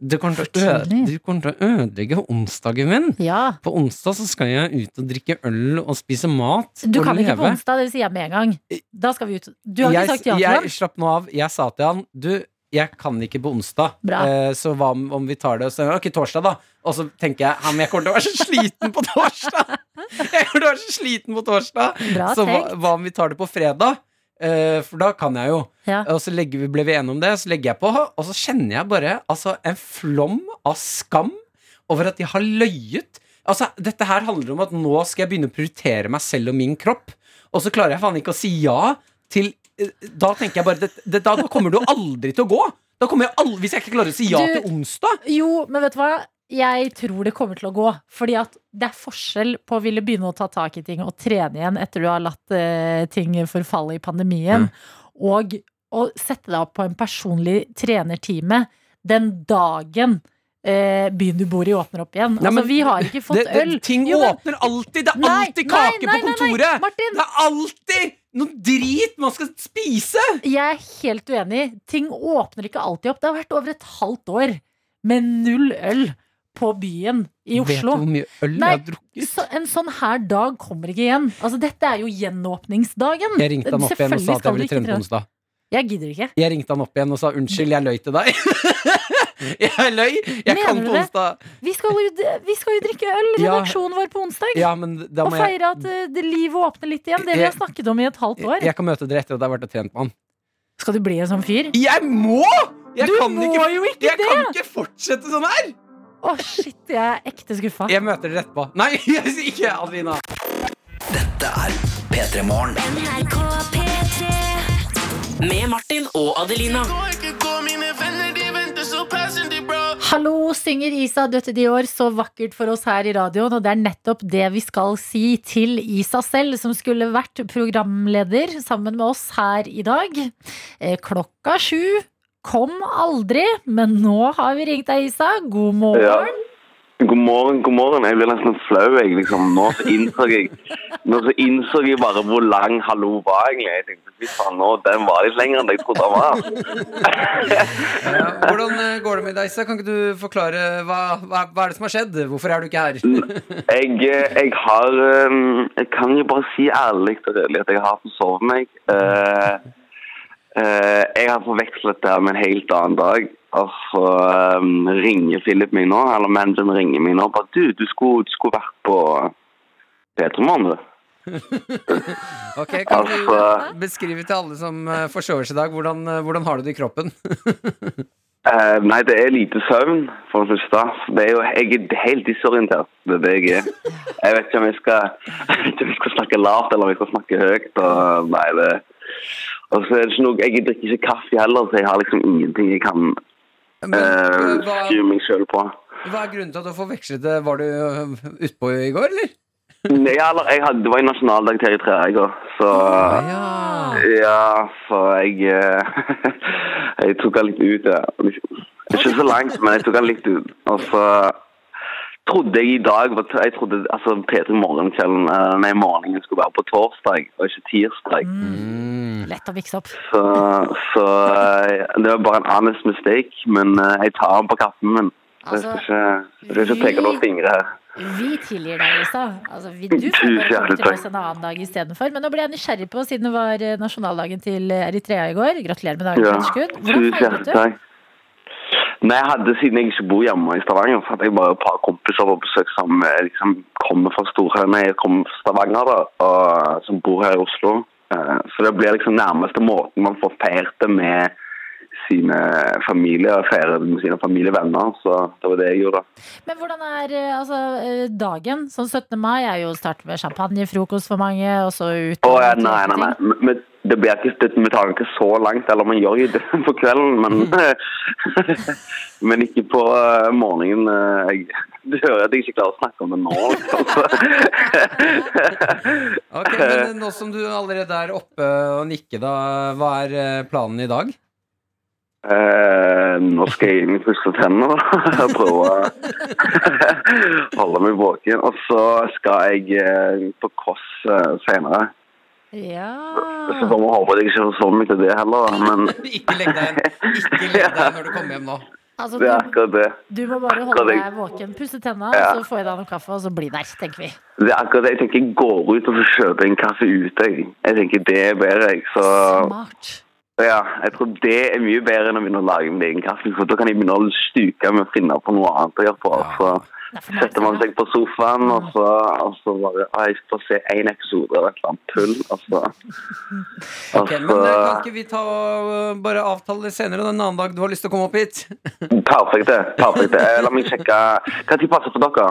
[SPEAKER 3] du kommer, til å ø-
[SPEAKER 2] tidlig.
[SPEAKER 3] du kommer til å ødelegge onsdagen min.
[SPEAKER 2] ja.
[SPEAKER 3] På onsdag så skal jeg ut og drikke øl og spise mat.
[SPEAKER 2] Du
[SPEAKER 3] og
[SPEAKER 2] kan ikke
[SPEAKER 3] leve.
[SPEAKER 2] på onsdag, det sier jeg med en gang. Da skal vi ut. Du har
[SPEAKER 3] jeg,
[SPEAKER 2] ikke sagt ja til
[SPEAKER 3] Jeg
[SPEAKER 2] ham?
[SPEAKER 3] slapp nå av. Jeg sa til han Du, jeg kan ikke på onsdag,
[SPEAKER 2] Bra.
[SPEAKER 3] Eh, så hva om om vi tar det og så, Ok, torsdag, da. Og så tenker jeg ja, men jeg kommer til å være så sliten på torsdag! Jeg kommer til å være så sliten på torsdag
[SPEAKER 2] Bra
[SPEAKER 3] Så hva,
[SPEAKER 2] tenkt.
[SPEAKER 3] hva om vi tar det på fredag? Eh, for da kan jeg jo.
[SPEAKER 2] Ja.
[SPEAKER 3] Og så legger vi, ble vi enige om det, så legger jeg på, og så kjenner jeg bare altså, en flom av skam over at jeg har løyet. Altså, dette her handler om at nå skal jeg begynne å prioritere meg selv og min kropp, og så klarer jeg faen ikke å si ja til eh, Da tenker jeg bare det, det, da, da kommer du aldri til å gå. Da kommer jeg aldri, Hvis jeg ikke klarer å si ja
[SPEAKER 2] Du-
[SPEAKER 3] til onsdag
[SPEAKER 2] Jo, men vet du hva? Jeg tror det kommer til å gå. Fordi at det er forskjell på å ville begynne å ta tak i ting og trene igjen etter du har latt eh, ting forfalle i pandemien,
[SPEAKER 3] Mm.
[SPEAKER 2] og å sette deg opp på en personlig trenertime den dagen eh, byen du bor i, åpner opp igjen.
[SPEAKER 3] Nei,
[SPEAKER 2] altså,
[SPEAKER 3] men
[SPEAKER 2] vi har ikke fått
[SPEAKER 3] det, det,
[SPEAKER 2] øl.
[SPEAKER 3] Ting
[SPEAKER 2] Jo, men-
[SPEAKER 3] åpner alltid. Det er
[SPEAKER 2] Nei,
[SPEAKER 3] alltid
[SPEAKER 2] nei,
[SPEAKER 3] kake
[SPEAKER 2] nei, nei,
[SPEAKER 3] på
[SPEAKER 2] nei,
[SPEAKER 3] kontoret.
[SPEAKER 2] Martin!
[SPEAKER 3] Det er alltid noe drit man skal spise.
[SPEAKER 2] Jeg er helt uenig. Ting åpner ikke alltid opp. Det har vært over et halvt år med null øl på byen i Oslo.
[SPEAKER 3] mye øl
[SPEAKER 2] Nei,
[SPEAKER 3] drukket?
[SPEAKER 2] Så, en sånn her dag kommer ikke igjen. Altså, dette er jo gjenåpningsdagen.
[SPEAKER 3] Jeg ringte han opp igjen og
[SPEAKER 2] Selvfølgelig
[SPEAKER 3] sa at
[SPEAKER 2] skal
[SPEAKER 3] jeg
[SPEAKER 2] du
[SPEAKER 3] ville
[SPEAKER 2] ikke
[SPEAKER 3] trene på
[SPEAKER 2] trene.
[SPEAKER 3] onsdag.
[SPEAKER 2] Jeg gidder ikke.
[SPEAKER 3] Jeg ringte han opp igjen og sa unnskyld, jeg løy til deg. jeg løy! Jeg
[SPEAKER 2] Mener
[SPEAKER 3] kan
[SPEAKER 2] du
[SPEAKER 3] på
[SPEAKER 2] det?
[SPEAKER 3] onsdag.
[SPEAKER 2] Vi skal jo, vi skal jo drikke øl,
[SPEAKER 3] Ja.
[SPEAKER 2] redaksjonen vår, på onsdag.
[SPEAKER 3] Ja, men da
[SPEAKER 2] og
[SPEAKER 3] må jeg
[SPEAKER 2] feire at eh, det livet åpner litt igjen. Det vi
[SPEAKER 3] Jeg-
[SPEAKER 2] har snakket om i et halvt år.
[SPEAKER 3] Jeg kan møte dere etter at jeg har vært og trent med han.
[SPEAKER 2] Skal du bli en sånn fyr?
[SPEAKER 3] Jeg må! Jeg
[SPEAKER 2] Du
[SPEAKER 3] kan
[SPEAKER 2] må
[SPEAKER 3] ikke,
[SPEAKER 2] jo ikke
[SPEAKER 3] jeg kan ikke fortsette sånn her!
[SPEAKER 2] Å, shit, jeg er ekte skuffa.
[SPEAKER 3] Jeg møter dere etterpå. Nei, jeg sier ikke Adelina.
[SPEAKER 4] P3 Morgen. Med Martin og Adelina.
[SPEAKER 2] Hallo, synger Isa Døtte Dior, så vakkert for oss her i radioen. Og det er nettopp det vi skal si til Isa selv, som skulle vært programleder sammen med oss her i dag. Eh, Klokka sju. Kom aldri, men nå har vi ringt deg, Isa. God morgen.
[SPEAKER 8] God morgen, god morgen. Jeg blir nesten flau. jeg liksom. Nå så innså jeg, nå så innså jeg bare hvor lang hallo var egentlig. Jeg tenkte, fy faen, nå, Den var litt lenger enn jeg trodde den var.
[SPEAKER 3] Hvordan eh, går det med deg, Isa? Kan ikke du forklare hva, hva, hva er det som har skjedd? Hvorfor er du ikke her?
[SPEAKER 8] Jeg, eh, jeg har eh, Jeg kan jo bare si ærlig og redelig at jeg har forsovet meg. Eh, eh, jeg har forvekslet det her med en helt annen dag. Og så eh, ringer Philip meg nå, eller manageren ringer meg nå og bare Du, du skulle, du skulle vært på P3morgen, du.
[SPEAKER 3] Ok, Kan du
[SPEAKER 8] Altså-
[SPEAKER 3] beskrive til alle som eh, forsover seg i dag, hvordan, eh, hvordan har du det i kroppen?
[SPEAKER 8] Eh, nei, det er lite søvn, for det første. Det er jo, jeg er helt disorientert. Det er det jeg er. Jeg vet ikke om jeg skal, jeg vet ikke om jeg skal snakke lavt eller om jeg skal snakke høyt. Og, nei, det, og så er det ikke noe, Jeg drikker ikke kaffe heller, så jeg har liksom ingenting jeg kan
[SPEAKER 3] Men,
[SPEAKER 8] eh,
[SPEAKER 3] eh, hva,
[SPEAKER 8] styre meg sjøl på.
[SPEAKER 3] Hva er grunnen til at du forvekslet det? Var du ø, utpå i går, eller?
[SPEAKER 8] Nei, eller, jeg hadde, det var jo nasjonaldag til Eritrea i går, så
[SPEAKER 3] Ah. Ja.
[SPEAKER 8] Ja, så jeg eh, Jeg tok han litt ut, ja. Ikke så langt, men jeg tok han litt ut. Og så trodde jeg i dag var Jeg trodde altså, P3 Morgenkvelden eh, Nei, morgenen skulle være på torsdag, og ikke tirsdag.
[SPEAKER 2] Lett å mikse opp.
[SPEAKER 8] Så, så eh, det var bare en honest mistake, men eh, jeg tar den på kappen min. Så jeg skal ikke, jeg skal ikke peke noen fingre her.
[SPEAKER 2] Vi tilgir deg, Lisa. Altså, vi, du får
[SPEAKER 8] Tusen
[SPEAKER 2] bare komme
[SPEAKER 8] hjertelig
[SPEAKER 2] til
[SPEAKER 8] takk.
[SPEAKER 2] oss en annen dag istedenfor. Men nå ble jeg nysgjerrig på, siden det var eh, nasjonaldagen til eh, Eritrea i går Gratulerer med dagen,
[SPEAKER 8] Ja,
[SPEAKER 2] Kjenskud. Hvordan
[SPEAKER 8] tusen
[SPEAKER 2] feiret
[SPEAKER 8] hjertelig
[SPEAKER 2] du?
[SPEAKER 8] takk. Nei, jeg hadde, Siden jeg ikke bor hjemme i Stavanger, så hadde jeg bare et par kompiser på besøk som eh, liksom, kommer fra Storhøy. Nei, jeg kommer fra Stavanger, da, og, som bor her i Oslo. Eh, Så det blir liksom nærmeste måten man får feiret det med sine familier, feiret det med sine familievenner. Så det var det jeg gjorde.
[SPEAKER 2] Men hvordan er eh, altså, eh, dagen? Sånn 17. mai er jo start med champagnefrokost for mange, og så ut
[SPEAKER 8] Å,
[SPEAKER 2] og
[SPEAKER 8] ja,
[SPEAKER 2] ut og
[SPEAKER 8] nei, nei,
[SPEAKER 2] ting.
[SPEAKER 8] nei. Men- Men det blir ikke støtt, vi tar den ikke så langt, eller man gjør jo det på kvelden, men, men ikke på eh, morgenen. eh, Jeg, du hører at jeg ikke klarer å snakke om det nå. liksom, så.
[SPEAKER 3] Ok, men øh, Nå som du allerede er oppe og nikker, da, hva er eh, planen i dag?
[SPEAKER 8] Eh, nå skal jeg inn i pusse tennene da, og prøve å holde meg våken. Og så skal jeg eh, på cross eh, senere. Så
[SPEAKER 2] Ja.
[SPEAKER 8] får vi håpe at jeg ikke får sove meg til det heller, da, men
[SPEAKER 3] Ikke legg deg igjen Ikke legg deg igjen når du kommer hjem nå.
[SPEAKER 2] Altså,
[SPEAKER 8] det er
[SPEAKER 2] du,
[SPEAKER 8] akkurat det.
[SPEAKER 2] du må bare holde
[SPEAKER 8] Akkurat
[SPEAKER 2] deg
[SPEAKER 8] det.
[SPEAKER 2] våken, pusse tenna,
[SPEAKER 8] Ja.
[SPEAKER 2] så får jeg deg noe kaffe, og så bli der, tenker vi.
[SPEAKER 8] Det er akkurat det. Jeg tenker jeg går ut og så kjøper jeg en kaffe ute. Jeg, jeg tenker det er bedre. Jeg. Så
[SPEAKER 2] Smart.
[SPEAKER 8] ja, jeg tror det er mye bedre enn å begynne å lage min egen kaffe. For da kan jeg begynne å stuke med å finne på noe annet å gjøre på. Så
[SPEAKER 2] Det er for
[SPEAKER 8] setter man
[SPEAKER 2] nært,
[SPEAKER 8] seg på sofaen, og så, og så bare «Å, Jeg skal se én episode av et eller annet tull, og så og
[SPEAKER 3] Ok, men
[SPEAKER 8] så-
[SPEAKER 3] eh, Kan ikke vi ta og eh, bare avtale det senere, da, en annen dag du har lyst til å komme opp hit?
[SPEAKER 8] Perfekt, det. Perfekt. det. Eh, La meg sjekke Når passer for dere?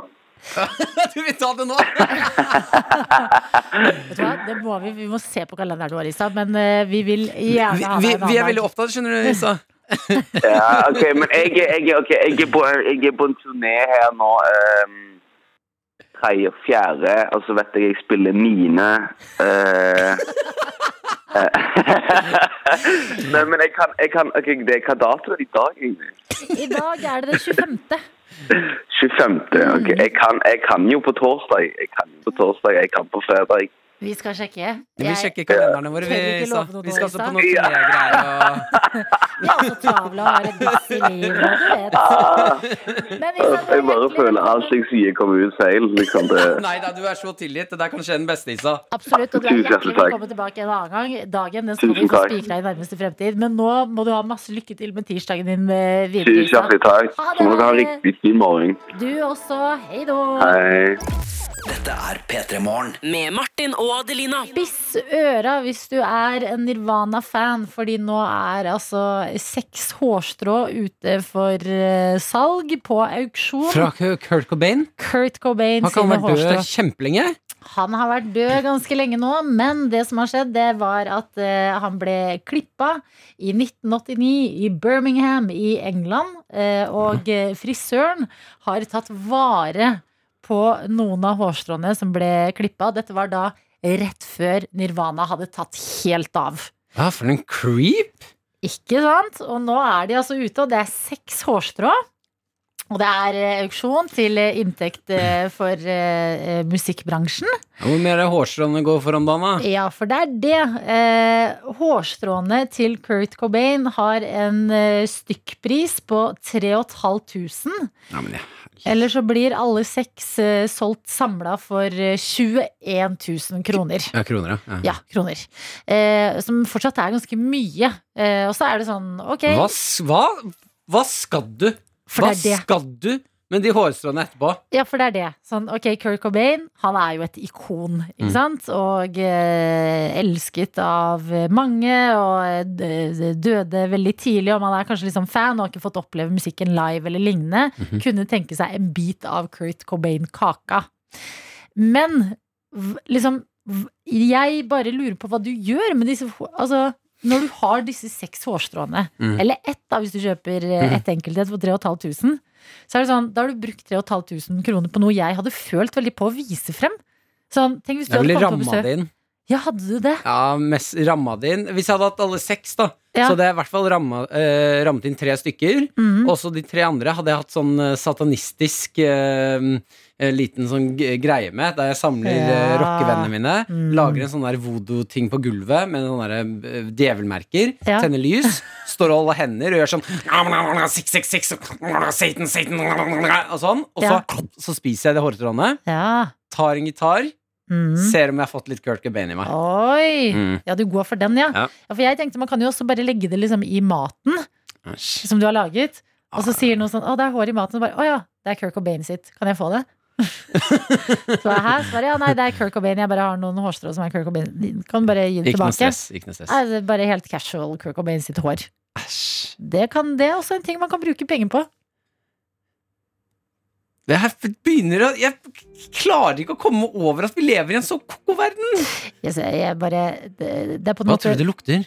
[SPEAKER 3] Du vil ta det nå?
[SPEAKER 2] Vet du hva? Det må vi, vi må se på kalenderen vår, Isa, men eh, vi vil gjerne
[SPEAKER 3] Vi,
[SPEAKER 2] ha
[SPEAKER 3] vi,
[SPEAKER 2] deg en
[SPEAKER 3] vi er
[SPEAKER 2] annen
[SPEAKER 3] veldig
[SPEAKER 2] dag.
[SPEAKER 3] opptatt, skjønner du, Lisa.
[SPEAKER 8] Ja, ok, men jeg, er- jeg, er- ok, jeg, er på, jeg er på en turné her nå um, 3. og 4., og så vet jeg jeg spiller Nine. eh, eh, Nei, men jeg kan, jeg kan ok, det er Hva dato er det i dag? egentlig?
[SPEAKER 2] I dag er det den 25.
[SPEAKER 8] 25. ok, jeg kan, jeg kan jo på torsdag. Jeg kan jo på torsdag, jeg kan på fredag.
[SPEAKER 2] Vi skal sjekke.
[SPEAKER 3] Vi
[SPEAKER 2] Jeg
[SPEAKER 3] sjekker kalenderne våre,
[SPEAKER 2] tør
[SPEAKER 3] vi,
[SPEAKER 2] ikke
[SPEAKER 3] Lisa.
[SPEAKER 2] love noe
[SPEAKER 3] Vi skal også
[SPEAKER 2] nå,
[SPEAKER 3] på noen turnégreier og
[SPEAKER 2] vi er så travle og har et busy liv, og du vet. Men Isa, du er
[SPEAKER 8] Ah. Jeg bare
[SPEAKER 2] hjertelig
[SPEAKER 8] føler
[SPEAKER 2] velkommen.
[SPEAKER 8] alt jeg sier, kommer ut feil. Liksom det.
[SPEAKER 3] Nei da, du er så tilgitt. Det der kan skje den beste, Isa.
[SPEAKER 2] Absolutt, og du er
[SPEAKER 8] Tusen hjertelig
[SPEAKER 2] hjertelig
[SPEAKER 8] takk.
[SPEAKER 2] velkommen tilbake en annen gang. Dagen den skal vi
[SPEAKER 8] Tusen
[SPEAKER 2] få
[SPEAKER 8] takk.
[SPEAKER 2] spikra i nærmeste fremtid. Men nå må du ha masse lykke til med tirsdagen din eh, videre.
[SPEAKER 8] Tusen
[SPEAKER 2] Isa.
[SPEAKER 8] hjertelig takk.
[SPEAKER 2] Ha det.
[SPEAKER 8] Så må dere ha en riktig fin morgen.
[SPEAKER 2] Du også. Hei då.
[SPEAKER 8] Hei.
[SPEAKER 4] Dette er P3 Morgen. Med Martin og Adelina.
[SPEAKER 2] Spiss øra hvis du er en Nirvana-fan, fordi nå er altså seks hårstrå ute for eh, salg på auksjon.
[SPEAKER 3] Fra Kurt Cobain.
[SPEAKER 2] Kurt Cobain
[SPEAKER 3] Han
[SPEAKER 2] sine
[SPEAKER 3] kan ha vært
[SPEAKER 2] hårstrå.
[SPEAKER 3] død kjempelenge.
[SPEAKER 2] Han har vært død ganske lenge nå, men det som har skjedd, det var at eh, han ble klippa i 1989 i Birmingham i England. eh, og eh, frisøren har tatt vare på noen av hårstråene som ble klippa. Dette var da rett før Nirvana hadde tatt helt av.
[SPEAKER 3] Ja, for en creep!
[SPEAKER 2] Ikke sant? Og nå er de altså ute, og det er seks hårstrå. Og det er eh, auksjon til eh, inntekt eh, for eh, eh, musikkbransjen.
[SPEAKER 3] Hvor mer er hårstråene går for om dagen, da?
[SPEAKER 2] Ja, for det er det. Eh, hårstråene til Kurt Cobain har en eh, stykkpris på 3500.
[SPEAKER 3] Ja, men ja.
[SPEAKER 2] Eller så blir alle seks eh, solgt samla for eh, 21 000 kroner.
[SPEAKER 3] ja kroner, ja. ja.
[SPEAKER 2] Ja, kroner. Eh, som fortsatt er ganske mye. Eh, og så er det sånn, ok
[SPEAKER 3] Hva, s- hva, hva skal du?
[SPEAKER 2] For
[SPEAKER 3] Hva
[SPEAKER 2] det er det.
[SPEAKER 3] skal du med de hårstråene etterpå?
[SPEAKER 2] Ja, for det er det. Sånn, ok, Kurt Cobain, han er jo et ikon, ikke
[SPEAKER 3] Mm.
[SPEAKER 2] sant? Og eh, elsket av mange, og eh, døde veldig tidlig, og man er kanskje liksom fan og har ikke fått oppleve musikken live eller lignende. Kunne tenke seg en bit av Kurt Cobain-kaka. Men v- liksom, v- jeg bare lurer på hva du gjør med disse hå- Altså, når du har disse seks hårstråene,
[SPEAKER 3] Mm.
[SPEAKER 2] eller ett da, hvis du kjøper eh, ett enkelthet for 3500, så er det sånn, da har du brukt 3500 kroner på noe jeg hadde følt veldig på å vise frem. Sånn, tenk hvis du
[SPEAKER 3] Jeg
[SPEAKER 2] hadde
[SPEAKER 3] ville
[SPEAKER 2] kommet på
[SPEAKER 3] ramma
[SPEAKER 2] besøk.
[SPEAKER 3] det inn.
[SPEAKER 2] Ja, hadde du det?
[SPEAKER 3] Ja, mest ramma det inn. Hvis jeg hadde hatt alle seks, da,
[SPEAKER 2] Ja.
[SPEAKER 3] så hadde jeg i hvert fall ramma, eh, rammet inn tre stykker.
[SPEAKER 2] Mhm.
[SPEAKER 3] Også de tre andre hadde jeg hatt sånn eh, satanistisk eh, eh, liten sånn g- greie med, der jeg samler
[SPEAKER 2] Ja.
[SPEAKER 3] eh, rockevennene mine.
[SPEAKER 2] Mm.
[SPEAKER 3] Lager en sånn der voodoo-ting på gulvet med sånne der, eh, djevelmerker.
[SPEAKER 2] Ja.
[SPEAKER 3] Tenner lys. Står og holder hender og gjør sånn «Six, six, six, Satan, Satan, Og sånn. Og så, så spiser jeg det hårtrådene.
[SPEAKER 2] Ja.
[SPEAKER 3] Tar en gitar.
[SPEAKER 2] Mm.
[SPEAKER 3] Ser om jeg har fått litt Kurt Cobain i meg.
[SPEAKER 2] Oi!
[SPEAKER 3] Mm.
[SPEAKER 2] Ja, du går for den, ja.
[SPEAKER 3] Ja.
[SPEAKER 2] ja. For jeg tenkte man kan jo også bare legge det liksom i maten som du har laget. Og
[SPEAKER 3] Ah,
[SPEAKER 2] så sier noen sånn 'Å, det er hår i maten.' Og bare 'Å ja, det er Kirk Cobain sitt. Kan jeg få det?' så er her svarer ja, nei, det er Kirk Cobain. Jeg bare har noen hårstrå som er Kirk Cobain. Kan bare gi det
[SPEAKER 3] Ikke noe
[SPEAKER 2] tilbake.
[SPEAKER 3] stress. Ikke noe stress.
[SPEAKER 2] Nei, det er bare helt casual Kirk Cobain sitt hår. Det, kan, det er også en ting man kan bruke penger på.
[SPEAKER 3] Det her begynner å Jeg klarer ikke å komme over at vi lever i en så ko-ko verden.
[SPEAKER 2] Jeg, ser- jeg bare det, det er på en
[SPEAKER 3] Hva
[SPEAKER 2] måte
[SPEAKER 3] tror du det lukter?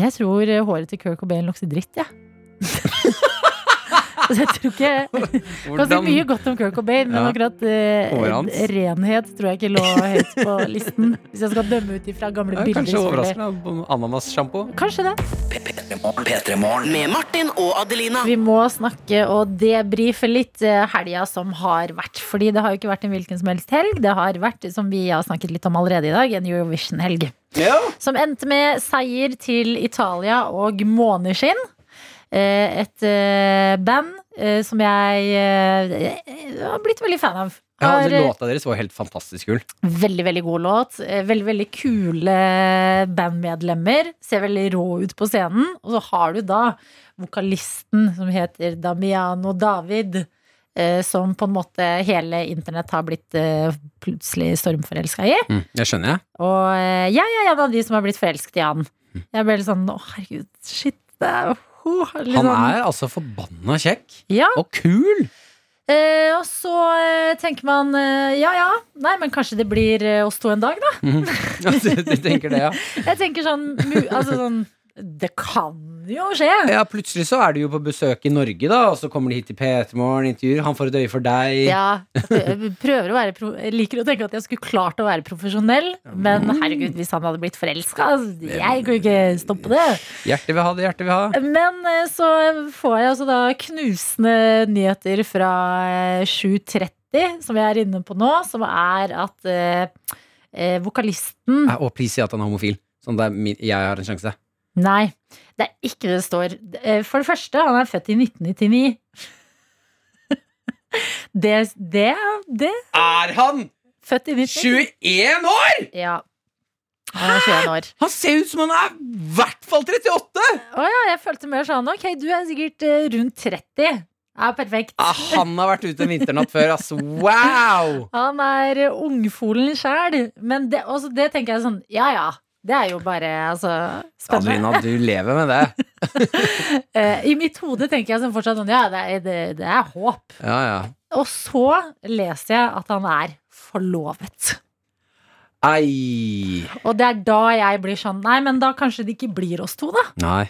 [SPEAKER 2] Jeg tror eh, håret til Kirk Cobain lukter dritt, jeg. Ja. Så jeg tror ikke Man kan si mye godt om Kirk Cobain, men
[SPEAKER 3] Ja.
[SPEAKER 2] akkurat eh,
[SPEAKER 3] Håret hans.
[SPEAKER 2] renhet tror jeg ikke lå høyt på listen. Hvis jeg skal dømme ut ifra gamle
[SPEAKER 3] Ja,
[SPEAKER 2] bilder.
[SPEAKER 3] Kanskje
[SPEAKER 2] selvfølgelig.
[SPEAKER 3] overraskende om ananas-sjampo.
[SPEAKER 2] Kanskje det.
[SPEAKER 4] P3morgen. Med Martin og Adelina.
[SPEAKER 2] Vi må snakke og debrife litt eh, helga som har vært. Fordi det har jo ikke vært en hvilken som helst helg. Det har vært, som vi har snakket litt om allerede i dag, en Eurovision-helg. Som endte med seier til Italia og Måneskinn. Eh, Et eh, band eh, som jeg eh, har blitt veldig fan av.
[SPEAKER 3] Ja,
[SPEAKER 2] Har,
[SPEAKER 3] det
[SPEAKER 2] eh,
[SPEAKER 3] Låta deres var helt fantastisk kul.
[SPEAKER 2] Veldig, veldig god låt. Eh, Veldig, veldig kule bandmedlemmer. Ser veldig rå ut på scenen. Og så har du da vokalisten som heter Damiano David, eh, som på en måte hele internett har blitt eh, plutselig stormforelska i.
[SPEAKER 3] Mm, jeg skjønner, jeg.
[SPEAKER 2] Og eh, jeg er en av de som har blitt forelsket i han.
[SPEAKER 3] Mm.
[SPEAKER 2] Jeg ble litt sånn å herregud, shit. Det er, oh, litt sånn-
[SPEAKER 3] Han er altså forbanna kjekk.
[SPEAKER 2] Ja.
[SPEAKER 3] Og kul!
[SPEAKER 2] Eh, og så eh, tenker man eh, ja ja, nei, men kanskje det blir eh, oss to en dag, da.
[SPEAKER 3] Ja, du, du tenker det, ja.
[SPEAKER 2] Jeg tenker sånn, mu- altså sånn Det kan jo skje.
[SPEAKER 3] ja. Plutselig så er du jo på besøk i Norge, da, og så kommer de hit til P3morgen, intervjuer, han får et øye for deg.
[SPEAKER 2] Ja, jeg prøver å være pro jeg liker å tenke at jeg skulle klart å være profesjonell, men herregud, hvis han hadde blitt forelska Jeg kunne ikke stoppe det.
[SPEAKER 3] Hjertet vil ha det, hjertet vil ha.
[SPEAKER 2] Men eh, så får jeg altså da knusende nyheter fra eh, 7.30, som jeg er inne på nå, som er at eh, eh, vokalisten
[SPEAKER 3] Nei, Og please si at han er homofil. Sånn at det er min- jeg har en sjanse.
[SPEAKER 2] Nei, det er ikke det det står. Eh, For det første, han er født i 1999. Det, det, det
[SPEAKER 3] Er han
[SPEAKER 2] Født i 1999.
[SPEAKER 3] 21 år?!
[SPEAKER 2] Ja. Han er 21 år.
[SPEAKER 3] Han ser ut som han er i hvert fall 38!
[SPEAKER 2] Å ja, jeg følte mer sånn Ok, du er sikkert eh, rundt 30. Ja, perfekt.
[SPEAKER 3] Ah, han har vært ute en vinternatt før, ass. Wow!
[SPEAKER 2] Han er eh, ungfolen sjæl. Men det, også det tenker jeg sånn Ja ja. Det er jo bare altså, spennende.
[SPEAKER 3] Adelina, du lever med det.
[SPEAKER 2] Eh, I mitt hode tenker jeg sånn fortsatt sånn Ja, det, er- det, det er håp.
[SPEAKER 3] Ja, ja.
[SPEAKER 2] Og så leser jeg at han er forlovet.
[SPEAKER 3] Ei.
[SPEAKER 2] Og det er da jeg blir sånn Nei, men da kanskje det ikke blir oss to, da.
[SPEAKER 3] Nei.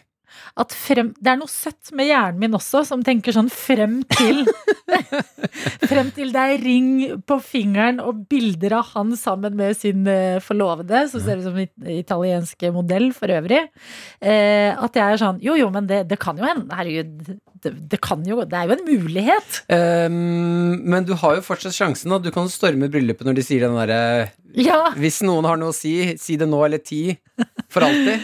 [SPEAKER 2] At frem, det er noe søtt med hjernen min også, som tenker sånn frem til Frem til det er ring på fingeren og bilder av han sammen med sin eh, forlovede, som ser ut som en italiensk modell for øvrig. Eh, at jeg er sånn Jo, jo, men det, det kan jo hende. Herregud. Det, det kan jo Det er jo en mulighet.
[SPEAKER 3] Ehm, men du har jo fortsatt sjansen, og du kan storme bryllupet når de sier den derre
[SPEAKER 2] Ja.
[SPEAKER 3] Hvis noen har noe å si, si det nå eller ti. For alltid.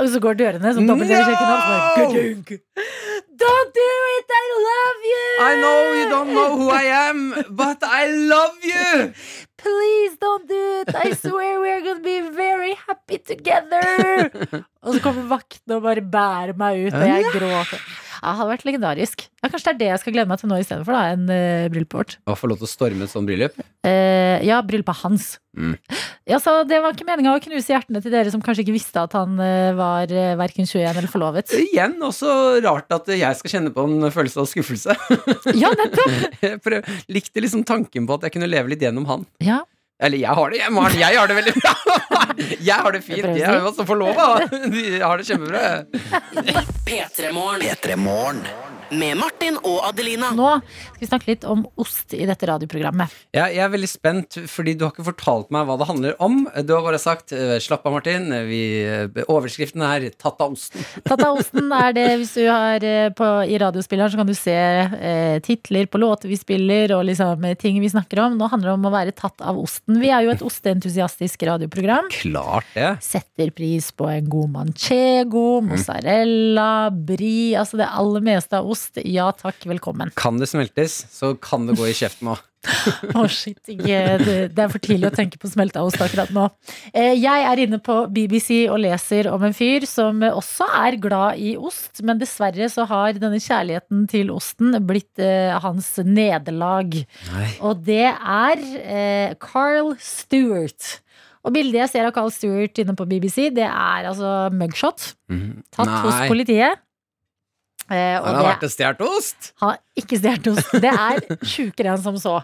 [SPEAKER 2] Og så går dørene som dobbeltdører i kjøkkenet. No! Don't do it, I love you!
[SPEAKER 3] I know you don't know who I am, but I love you!
[SPEAKER 2] Please don't do it! I swear we are gonna be very happy together! og så kommer vaktene og bare bærer meg ut, og jeg gråter. Ja, det hadde vært legendarisk. Ja, kanskje det er det jeg skal glede meg til nå istedenfor, da. En uh, bryllup vårt.
[SPEAKER 3] Å få lov til å storme et sånt bryllup.
[SPEAKER 2] Eh, ja, bryllupet hans.
[SPEAKER 3] Mm.
[SPEAKER 2] Ja, så det var ikke meninga å knuse hjertene til dere som kanskje ikke visste at han eh, var uh, verken 21 eller forlovet.
[SPEAKER 3] Igjen også rart at jeg skal kjenne på en følelse av skuffelse.
[SPEAKER 2] Ja, nettopp!
[SPEAKER 3] Jeg prøv, likte liksom tanken på at jeg kunne leve litt gjennom han.
[SPEAKER 2] Ja,
[SPEAKER 3] Eller jeg har det, jeg, Maren. Jeg har det veldig bra. Jeg har det
[SPEAKER 2] Det
[SPEAKER 3] fint.
[SPEAKER 2] prøver å si.
[SPEAKER 3] Jeg er jo altså også forlova. De har det kjempebra.
[SPEAKER 4] P3morgen. Med Martin og Adelina.
[SPEAKER 2] Nå skal vi snakke litt om ost i dette radioprogrammet.
[SPEAKER 3] Ja, jeg er veldig spent, fordi du har ikke fortalt meg hva det handler om. Du har bare sagt eh, 'slapp av, Martin'. Vi, eh, overskriften er 'tatt av osten'.
[SPEAKER 2] Tata Osten er det hvis du har eh, på, i radiospilleren, så kan du se eh, titler på låter vi spiller og liksom eh, ting vi snakker om. Nå handler det om å være tatt av osten. Vi er jo et osteentusiastisk radioprogram.
[SPEAKER 3] Klart det.
[SPEAKER 2] Setter pris på en god manchego, mozzarella, brie. Altså det aller meste av ost. Ja takk, velkommen.
[SPEAKER 3] Kan det smeltes, så kan det gå i kjeften òg.
[SPEAKER 2] Å shit, ikke, det, det er for tidlig å tenke på smelta ost akkurat nå. Eh, jeg er inne på BBC og leser om en fyr som også er glad i ost, men dessverre så har denne kjærligheten til osten blitt eh, hans nederlag. Og det er eh, Carl Stewart. Og bildet jeg ser av Carl Stewart inne på BBC, det er altså mugshot. Tatt hos
[SPEAKER 3] Mhm. Nei.
[SPEAKER 2] politiet. Eh, og
[SPEAKER 3] Han har
[SPEAKER 2] det
[SPEAKER 3] vært og stjålet ost!
[SPEAKER 2] han har ikke stjålet ost. Det er sjukere enn som så.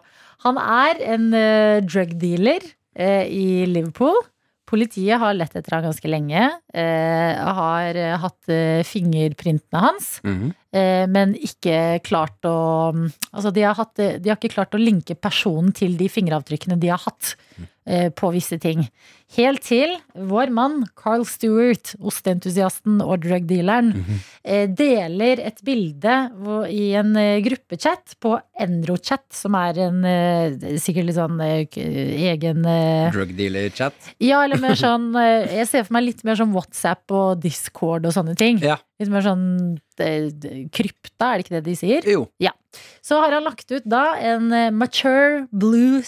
[SPEAKER 2] Han er en eh, drug dealer eh, i Liverpool. Politiet har lett etter han ganske lenge. eh, har eh, hatt eh, fingerprintene hans, eh, men ikke klart å Altså, de har, hatt, eh, de har ikke klart å linke personen til de fingeravtrykkene de har hatt eh, på visse ting. Helt til vår mann Carl Stewart, osteentusiasten og drug dealeren, eh, deler et bilde hvor, i en eh, gruppechat på Enrochat, som er en eh, sikkert litt sånn eh, k- egen eh,
[SPEAKER 3] Drug dealer-chat.
[SPEAKER 2] Ja, eller mer sånn eh, Jeg ser for meg litt mer sånn WhatsApp og Discord og sånne ting.
[SPEAKER 3] Ja.
[SPEAKER 2] Litt mer sånn eh, d- krypta, er det ikke det de sier?
[SPEAKER 3] Jo.
[SPEAKER 2] Så har han lagt ut da en eh, mature blue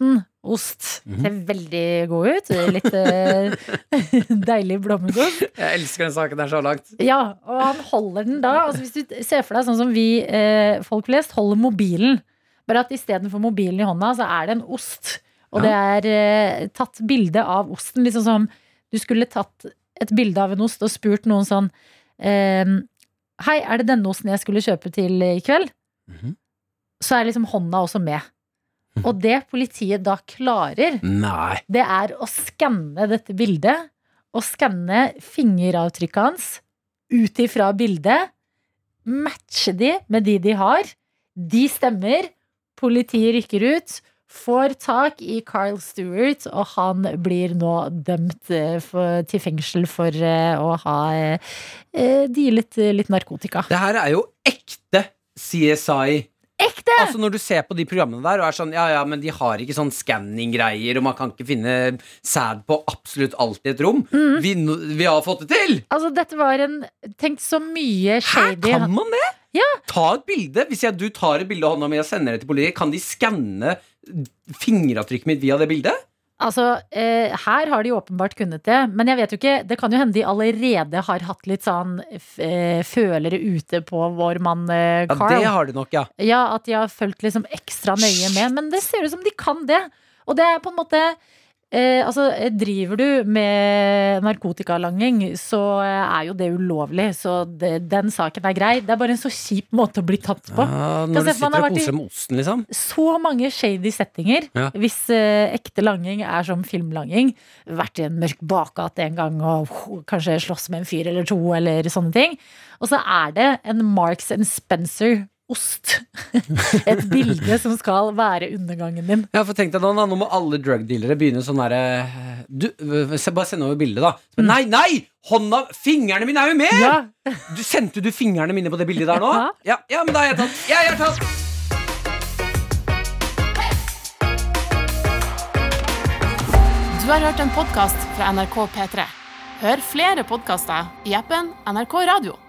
[SPEAKER 2] Stilton-ost.
[SPEAKER 3] Mhm.
[SPEAKER 2] Ser veldig god ut. Litt eh, deilig blommegodt.
[SPEAKER 3] Jeg elsker den saken der så langt.
[SPEAKER 2] Ja, og han holder den da. Altså, hvis du ser for deg sånn som vi eh, folk flest holder mobilen. Bare at istedenfor mobilen i hånda, så er det en ost. Og det er eh, tatt bilde av osten. Liksom som du skulle tatt et bilde av en ost og spurt noen sånn ehm, Hei, er det denne osten jeg skulle kjøpe til i kveld?
[SPEAKER 3] Mhm.
[SPEAKER 2] Så er liksom hånda også med. Og det politiet da klarer,
[SPEAKER 3] Nei.
[SPEAKER 2] det er å skanne dette bildet. Og skanne fingeravtrykket hans ut ifra bildet. Matche de med de de har. De stemmer. Politiet rykker ut. Får tak i Carl Stewart, og han blir nå dømt eh, for, til fengsel for eh, å ha eh, eh, dealet eh, litt narkotika.
[SPEAKER 3] Det her er jo ekte CSI.
[SPEAKER 2] Ekte!
[SPEAKER 3] Altså Når du ser på de programmene der og er sånn Ja, ja, men de har ikke sånn scanning-greier, og man kan ikke finne sæd på absolutt alt i et rom. Vi, vi har fått det til!
[SPEAKER 2] Altså, dette var en Tenk så mye
[SPEAKER 3] Her
[SPEAKER 2] shady
[SPEAKER 3] kan man det? Ta et bilde. Hvis jeg, du tar et bilde av hånda mi og sender det til politiet, kan de skanne fingeravtrykket mitt via det bildet?
[SPEAKER 2] Altså, eh, her har de åpenbart kunnet det, men jeg vet jo ikke, det kan jo hende de allerede har hatt litt sånn f- eh, følere ute på vår mann eh,
[SPEAKER 3] Ja,
[SPEAKER 2] Carl.
[SPEAKER 3] det
[SPEAKER 2] Ja,
[SPEAKER 3] har de nok, ja.
[SPEAKER 2] at de har fulgt liksom ekstra nøye med, men det ser ut som de kan det. Og det er på en måte eh, Altså, eh, driver du med narkotikalanging, så eh, er jo det ulovlig, så det, den saken er grei. Det er bare en så kjip måte å bli tatt på.
[SPEAKER 3] Ja,
[SPEAKER 2] Kan se for
[SPEAKER 3] når du
[SPEAKER 2] meg
[SPEAKER 3] sitter
[SPEAKER 2] han har
[SPEAKER 3] og
[SPEAKER 2] vært i-
[SPEAKER 3] koser deg med osten, liksom.
[SPEAKER 2] så mange shady settinger.
[SPEAKER 3] Ja.
[SPEAKER 2] Hvis eh, ekte langing er som filmlanging, vært i en mørk bakgate en gang og ho, kanskje slåss med en fyr eller to, eller sånne ting. Og så er det en Marks and Spencer-ost. Et bilde som skal være undergangen din.
[SPEAKER 3] Ja, for tenk deg da, da, Nå må alle drugdealere begynne sånn derre du, øh, se- Bare send over bildet, da. Så, Nei, nei! Hånda Fingrene mine er jo med!
[SPEAKER 2] Mm. Ja,
[SPEAKER 3] Du, sendte du fingrene mine på det bildet der nå?
[SPEAKER 2] Ja.
[SPEAKER 3] Ja, ja men da er jeg tatt. Jeg er tatt!
[SPEAKER 1] Du har hørt en podkast fra NRK P3. Hør flere podkaster i appen NRK Radio.